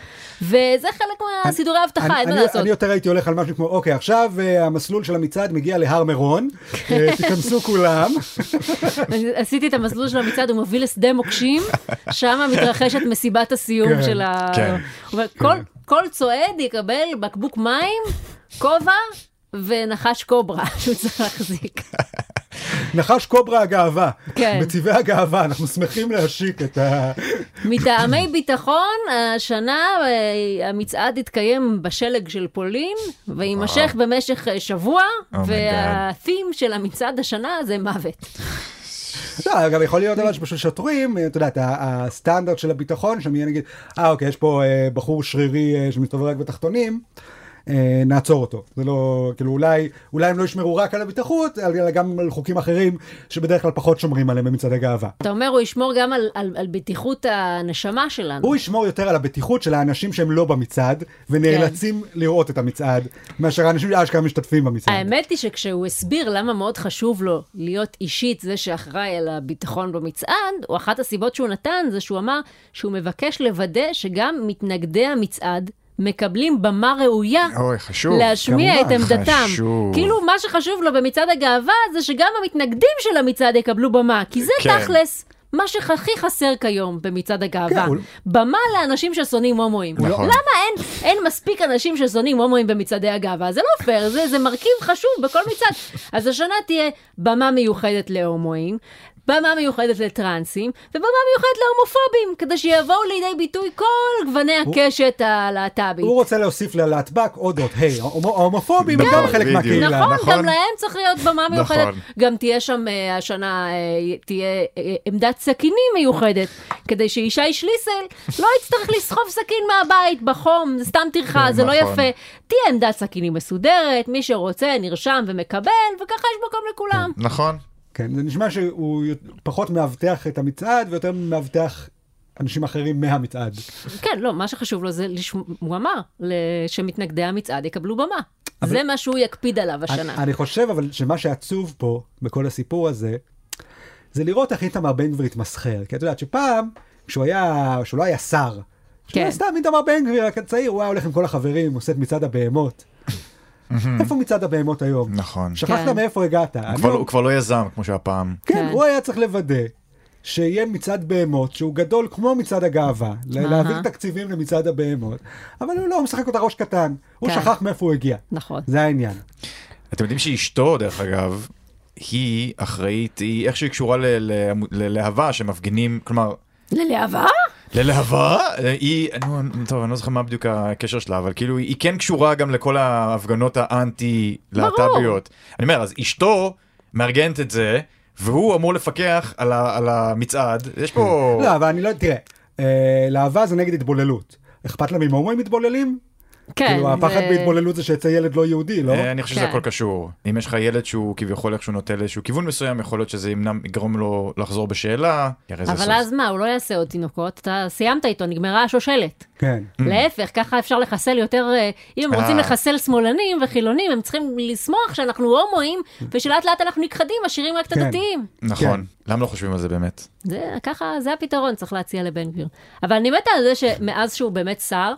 וזה חלק מהסידורי האבטחה, אין מה
אני-
לעשות.
אני יותר הייתי הולך על משהו כמו, אוקיי, עכשיו אה, המסלול של המצעד מגיע להר מירון, אה, תיכנסו כולם,
עשיתי את המסלול של המצעד, הוא מוביל לשדה מוקשים, שם מתרחשת מסיבת הסיום
כן,
של ה...
כן.
הוא אומר, כל- כל צועד יקבל בקבוק מים, כובע ונחש קוברה שהוא צריך להחזיק.
נחש קוברה הגאווה,
כן.
בצבעי הגאווה, אנחנו שמחים להשיק את ה...
מטעמי ביטחון, השנה אה, המצעד יתקיים בשלג של פולין, ויימשך במשך אה, שבוע,
Oh my God.
והתים של המצעד השנה זה מוות.
לא, גם יכול להיות אבל שפשוט שוטרים, אה, אתה יודע, את ה- הסטנדרט של הביטחון שם יהיה נגיד, אה אוקיי, יש פה אה, בחור שרירי אה, שמסתובב רק בתחתונים. אה, נעצור אותו זה לא כאילו אולי אולי הם לא ישמרו רק על הבטיחות אלא גם על חוקים אחרים שבדרך כלל פחות שומרים עליהם במצעדי גאווה.
אתה אומר, הוא ישמור גם על, על, על בטיחות הנשמה שלנו.
הוא ישמור יותר על הבטיחות של האנשים שהם לא במצעד ונאלצים לראות את המצעד מאשר האנשים שאשכרה משתתפים במצעד.
כן. האמת היא שכשהוא הסביר למה מאוד חשוב לו להיות אישית זה שאחראי על הביטחון במצעד, או אחת הסיבות שהוא נתן זה שהוא אמר שהוא מבקש לוודא שגם מתנגדי המצעד מקבלים במה ראויה
אוי, חשוב.
להשמיע את
כמובן,
עמדתם.
חשוב.
כאילו, מה שחשוב לו במצעד הגאווה זה שגם המתנגדים של המצעד יקבלו במה, כי זה
כן.
תכלס. מה שהכי חסר כיום במצעד הגאווה,
כן, הוא-
במה לאנשים ששונאים הומואים.
הוא לא- נכון.
למה אין, אין מספיק אנשים ששונאים הומואים במצעדי הגאווה? זה לא פייר, זה, זה מרכיב חשוב בכל מצעד. אז השנה תהיה במה מיוחדת להומואים, במה מיוחדת לטרנסים, ובמה מיוחדת להומופובים, כדי שיבואו לידי ביטוי כל גווני הקשת הלהט"בית.
הוא רוצה להוסיף ללהטבק עוד אות, היי, ההומו- ההומופובים הם גם
נכון,
חלק
בדיוק.
מהקהילה.
נכון,
נכון.
גם להם צריך להיות במה מיוחדת.
נכון.
גם תהיה שם אה, השנה, אה, תהיה אה, עמדת סכינים מיוחדת, כדי שישי שליסל לא יצטרך לסחוב סכין מהבית בחום, זה סתם טרחה,
כן,
זה לא
נכון.
יפה. תהיה עמדת סכינים מסודרת, מי שרוצה נרשם ומקבל, וככה יש מקום לכולם.
נכון.
כן, זה נשמע שהוא י- פחות מאבטח את המצעד ויותר מאבטח אנשים אחרים מהמצעד.
כן, לא, מה שחשוב לו זה, לשמ- הוא אמר, ל- שמתנגדי המצעד יקבלו במה. זה מה שהוא יקפיד עליו השנה.
אני, אני חושב אבל שמה שעצוב פה בכל הסיפור הזה, זה לראות איך איתמר בן גביר התמסחר. כי את יודעת שפעם, כשהוא היה, כשהוא לא היה שר, כשהוא היה
כן.
סתם איתמר בן גביר רק הצעיר, הוא היה הולך עם כל החברים, עושה את מצעד הבהמות. איפה מצעד הבהמות היום?
נכון.
שכחת
כן.
מאיפה הגעת.
הוא
אני
כבר
לא-
לא- הוא כבר לא יזם, כמו שהיה פעם.
כן,
כן.
הוא היה צריך לוודא שיהיה מצעד בהמות שהוא גדול כמו מצעד הגאווה, ל- להעביר תקציבים למצעד הבהמות, אבל הוא לא הוא משחק אותה ראש קטן, הוא
כן.
שכח מאיפה הוא הגיע.
נכון.
זה העניין.
אתם יודעים שאשתו, דרך אגב, היא אחראית, היא איך שהיא קשורה ל- ל- ללהבה שמפגינים, כלומר,
ללהבה?
ללהבה? היא, נו, טוב, אני לא זוכר מה בדיוק הקשר שלה, אבל כאילו, היא כן קשורה גם לכל ההפגנות האנטי-להט"ביות. אני אומר, אז אשתו מארגנת את זה, והוא אמור לפקח על ה- על המצעד. יש פה...
לא, אבל אני לא, תראה, אה, להבה זה נגד התבוללות. אכפת להם אם הומואים מתבוללים?
כן.
כאילו הפחד
זה-
בהתבוללות זה שיצא ילד לא יהודי, לא?
אה, אני חושב שזה
כן.
הכל קשור. אם יש לך ילד שהוא כביכול איכשהו נוטה לאיזשהו כיוון מסוים, יכול להיות שזה ימנע, יגרום לו לחזור בשאלה. כי הרי זה
אבל
סוף.
אז מה, הוא לא יעשה עוד תינוקות, אתה סיימת איתו, נגמרה השושלת.
כן.
להפך, ככה אפשר לחסל יותר, אה, אם הם
אה.
רוצים לחסל שמאלנים וחילונים, הם צריכים לשמוח שאנחנו הומואים, ושלאט לאט אנחנו נכחדים, משאירים רק את
כן.
הדתיים.
נכון. למה לא חושבים על זה באמת?
זה ככה, זה הפתרון, צריך להציע לבן גביר. אבל אני מתה על זה שמאז שהוא באמת שר,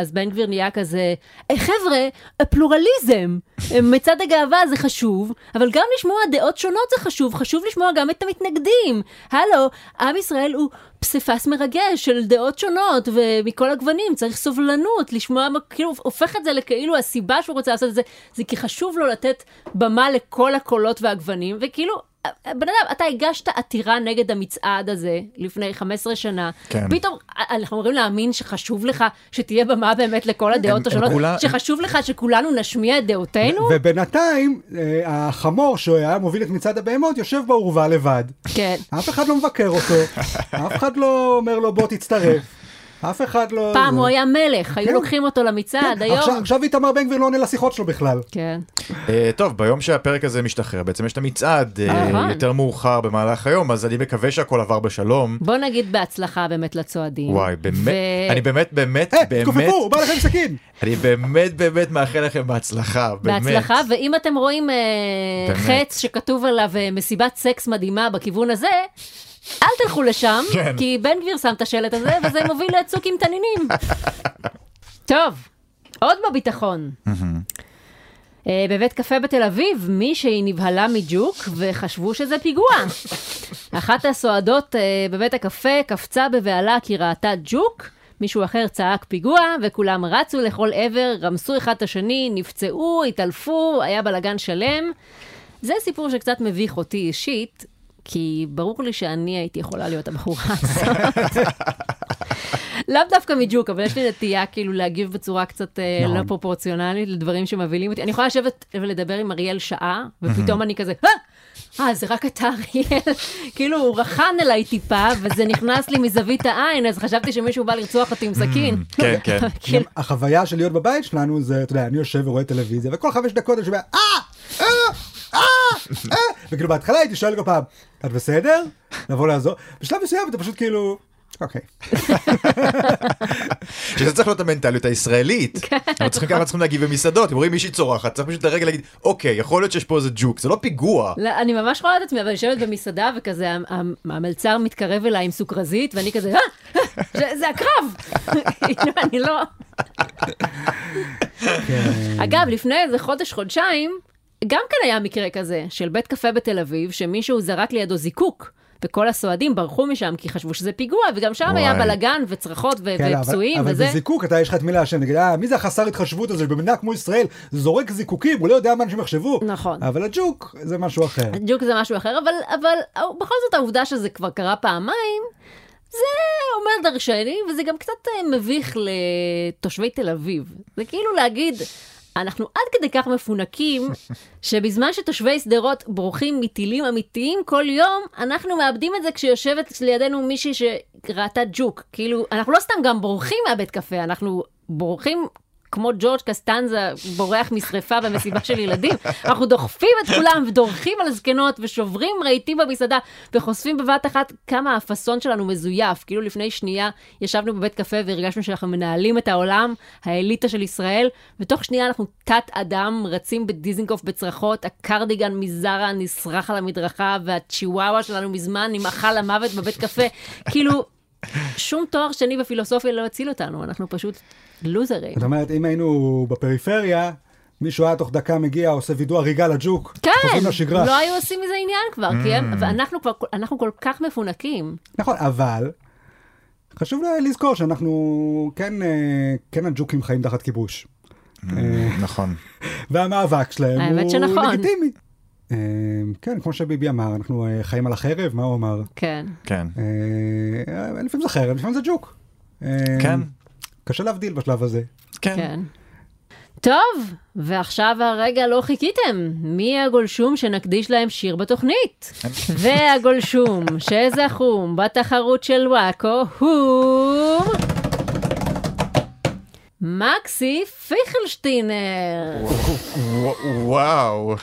אז בן גביר נהיה כזה, "אה, חבר'ה, הפלורליזם, אה, מצד הגאווה זה חשוב, אבל גם לשמוע דעות שונות זה חשוב, חשוב לשמוע גם את המתנגדים. הלו, עם ישראל הוא פסיפס מרגש של דעות שונות ומכל הגוונים, צריך סובלנות, לשמוע, מה- כאילו, הופך את זה לכאילו הסיבה שהוא רוצה לעשות את זה, זה כי חשוב לו לתת במה לכל הקולות והגוונים, וכאילו... בן אדם, אתה הגשת עתירה נגד המצעד הזה לפני 15 שנה.
כן.
פתאום אה, אנחנו אמורים להאמין שחשוב לך שתהיה במה באמת לכל הדעות
הם
השונות,
כולה-
שחשוב לך שכולנו נשמיע את דעותינו?
ובינתיים, אה, החמור שהיה מוביל את מצעד הבהמות יושב באורווה לבד.
כן.
אף אחד לא מבקר אותו, אף אחד לא אומר לו בוא תצטרף, אף אחד לא...
פעם
זה.
הוא היה מלך, היו
כן.
לוקחים אותו למצעד, היום...
עכשיו- עכשיו איתמר בן גביר לא עונה לשיחות שלו בכלל.
כן.
אה, טוב, ביום שהפרק הזה משתחרר, בעצם יש את המצעד אה,
נכון.
יותר מאוחר במהלך היום, אז אני מקווה שהכל עבר בשלום.
בוא נגיד בהצלחה באמת לצועדים.
וואי, באמת,
ו-
אני באמת, באמת,
אה,
באמת,
תכופפו, הוא בא לכם עם סכין.
אני באמת, באמת מאחל לכם בהצלחה, באמת.
בהצלחה, ואם אתם רואים אה,
באמת.
חץ שכתוב עליו אה, מסיבת סקס מדהימה בכיוון הזה, אל תלכו לשם,
כן.
כי בן גביר שם את השלט הזה, וזה מוביל לצוק עם תנינים. טוב, עוד בביטחון. אה, בבית קפה בתל אביב, מישהי נבהלה מג'וק וחשבו שזה פיגוע. אחת הסועדות אה, בבית הקפה קפצה בבהלה כי ראתה ג'וק, מישהו אחר צעק פיגוע, וכולם רצו לכל עבר, רמסו אחד את השני, נפצעו, התעלפו, היה בלגן שלם. זה סיפור שקצת מביך אותי אישית, כי ברור לי שאני הייתי יכולה להיות הבחורה הזאת. לאו דווקא מג'וק, אבל יש לי נטייה כאילו להגיב בצורה קצת אה,
נכון.
לא פרופורציונלית לדברים שמבהילים אותי. אני יכולה לשבת ולדבר עם אריאל שעה, ופתאום אני כזה, "אה, אה, זה רק אתה, אריאל. כאילו, הוא רחן אליי טיפה, וזה נכנס לי מזווית העין, אז חשבתי שמישהו בא לרצוח אותי עם סכין.
כן, כן.
כאילו,
החוויה של להיות בבית שלנו זה, אתה יודע, אני יושב ורואה טלוויזיה, וכל חמש דקות אני שומע, אה! אה! אה! אה! וכאילו בהתחלה הייתי שואל כל פעם, את בסדר? לבוא לעזור? בשלב מסוים אתה פשוט כאילו, אוקיי.
שזה צריך להיות המנטליות הישראלית.
כן.
אבל צריכים ככה צריכים להגיב במסעדות, אם רואים מישהי צורחת, צריך פשוט לרגע להגיד, אוקיי, יכול להיות שיש פה איזה ג'וק, זה לא פיגוע.
לא, אני ממש רואה את עצמי, אבל יושבת במסעדה, וכזה המ- המ- המלצר מתקרב אליי עם סוכרזית, ואני כזה, אה, זה- זה הקרב! כאילו, אני לא... אגב, לפני איזה חודש, חודשיים, גם כן היה מקרה כזה, של בית קפה בתל אביב, שמישהו זרק לידו זיקוק. וכל הסועדים ברחו משם כי חשבו שזה פיגוע, וגם שם היה
וואי.
בלאגן וצרחות ו-
כן, אבל-
ופצועים
אבל
וזה.
בזיקוק אתה יש לך את מי לעשן, תגיד, "אה, מי זה החסר התחשבות הזה שבמדינה כמו ישראל זורק זיקוקים, הוא לא יודע מה אנשים יחשבו.
נכון.
אבל הג'וק זה משהו אחר.
ג'וק זה משהו אחר, אבל, אבל אה, בכל זאת העובדה שזה כבר קרה פעמיים, זה אומר דרשני, וזה גם קצת אה, מביך לתושבי תל אביב. זה כאילו להגיד, אנחנו עד כדי כך מפונקים, שבזמן שתושבי שדרות בורחים מטילים אמיתיים כל יום, אנחנו מאבדים את זה כשיושבת לידינו מישהי שראתה ג'וק. כאילו, אנחנו לא סתם גם בורחים מהבית קפה, אנחנו בורחים... כמו ג'ורג' קסטנזה בורח משרפה במסיבה של ילדים. אנחנו דוחפים את כולם ודורכים על זקנות ושוברים רהיטים במסעדה וחושפים בבת אחת כמה הפאסון שלנו מזויף. כאילו לפני שנייה ישבנו בבית קפה והרגשנו שאנחנו מנהלים את העולם, האליטה של ישראל, ותוך שנייה אנחנו תת-אדם, רצים בדיזנגוף בצרחות, הקרדיגן מזרה נשרח על המדרכה והצ'יוואווה שלנו מזמן נמאכל למוות בבית קפה. כאילו... שום תואר שני בפילוסופיה לא הציל אותנו, אנחנו פשוט לוזרים.
זאת אומרת, אם היינו בפריפריה, מישהו היה תוך דקה מגיע, עושה וידוא הריגה לג'וק.
כן,
חוזרים לשגרה. Mm.
לא היו עושים מזה עניין כבר, כי הם, ואנחנו כבר, אנחנו כל כך מפונקים.
נכון, אבל חשוב ל- לזכור שאנחנו, כן, אה, כן הג'וקים חיים תחת כיבוש.
נכון.
והמאבק שלהם
האמת
הוא
שנכון.
לגיטימי. אה, כן, כמו שביבי אמר, אנחנו אה, חיים על החרב, מה הוא אמר?
כן.
כן.
אה, לפעמים זה חרב, לפעמים זה ג'וק. אה,
כן.
קשה להבדיל בשלב הזה.
כן.
כן. טוב, ועכשיו הרגע לא חיכיתם. מי הגולשום שנקדיש להם שיר בתוכנית? והגולשום שזכום בתחרות של וואקו הוא... מקסי פיכלשטיינר.
וו- וואו.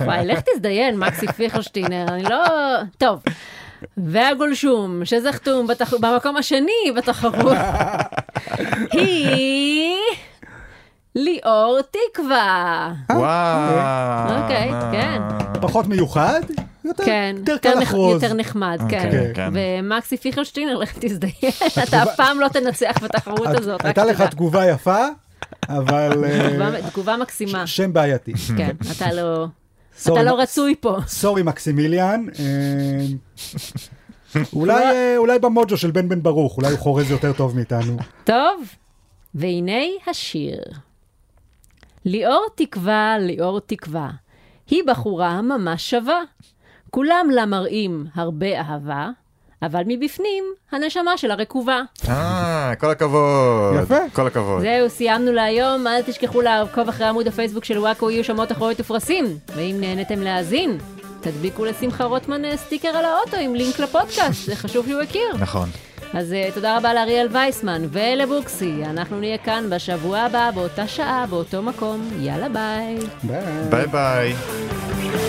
וואי, לך תזדיין, מקסי פיכלשטיינר, אני לא... טוב. והגולשום, שזכתום בתח... במקום השני בתחרות, היא ליאור תקווה.
אה, וואו.
אוקיי, כן.
פחות מיוחד, יותר
כן,
אה, יותר קל
נח-
לחרוז. אה,
יותר נחמד, כן.
אוקיי, כן.
ומקסי פיכלשטיינר, לך תזדיין, אתה אף פעם לא תנצח בתחרות
את-
הזאת, רק
הייתה לך
תדע.
תגובה יפה, אבל אה,
תגובה- תגובה מקסימה,
שם בעייתי.
כן, אתה לא... אתה
סורי,
לא
מ-
רצוי פה.
סורי מקסימיליאן. אה, אולי
לא-
אה, אולי במוג'ו של בן בן ברוך, אולי הוא חורז יותר טוב מאיתנו.
טוב, והנה השיר. ליאור תקווה, ליאור תקווה, היא בחורה ממש שווה. כולם לה מראים הרבה אהבה, אבל מבפנים הנשמה שלה רקובה.
אה, כל הכבוד.
יפה.
כל הכבוד.
זהו, סיימנו להיום, אל תשכחו לעקוב אחרי עמוד הפייסבוק של וואקו, יהיו שמות אחוריות ופרסים. ואם נהנתם להאזין, תדביקו לשמחה רוטמן אה, סטיקר על האוטו עם לינק לפודקאסט, זה חשוב שהוא יכיר.
נכון.
אז אה, תודה רבה לאריאל וייסמן ולבוקסי. אנחנו נהיה כאן בשבוע הבא, באותה שעה, באותו מקום. יאללה ביי.
ביי.
ביי ביי.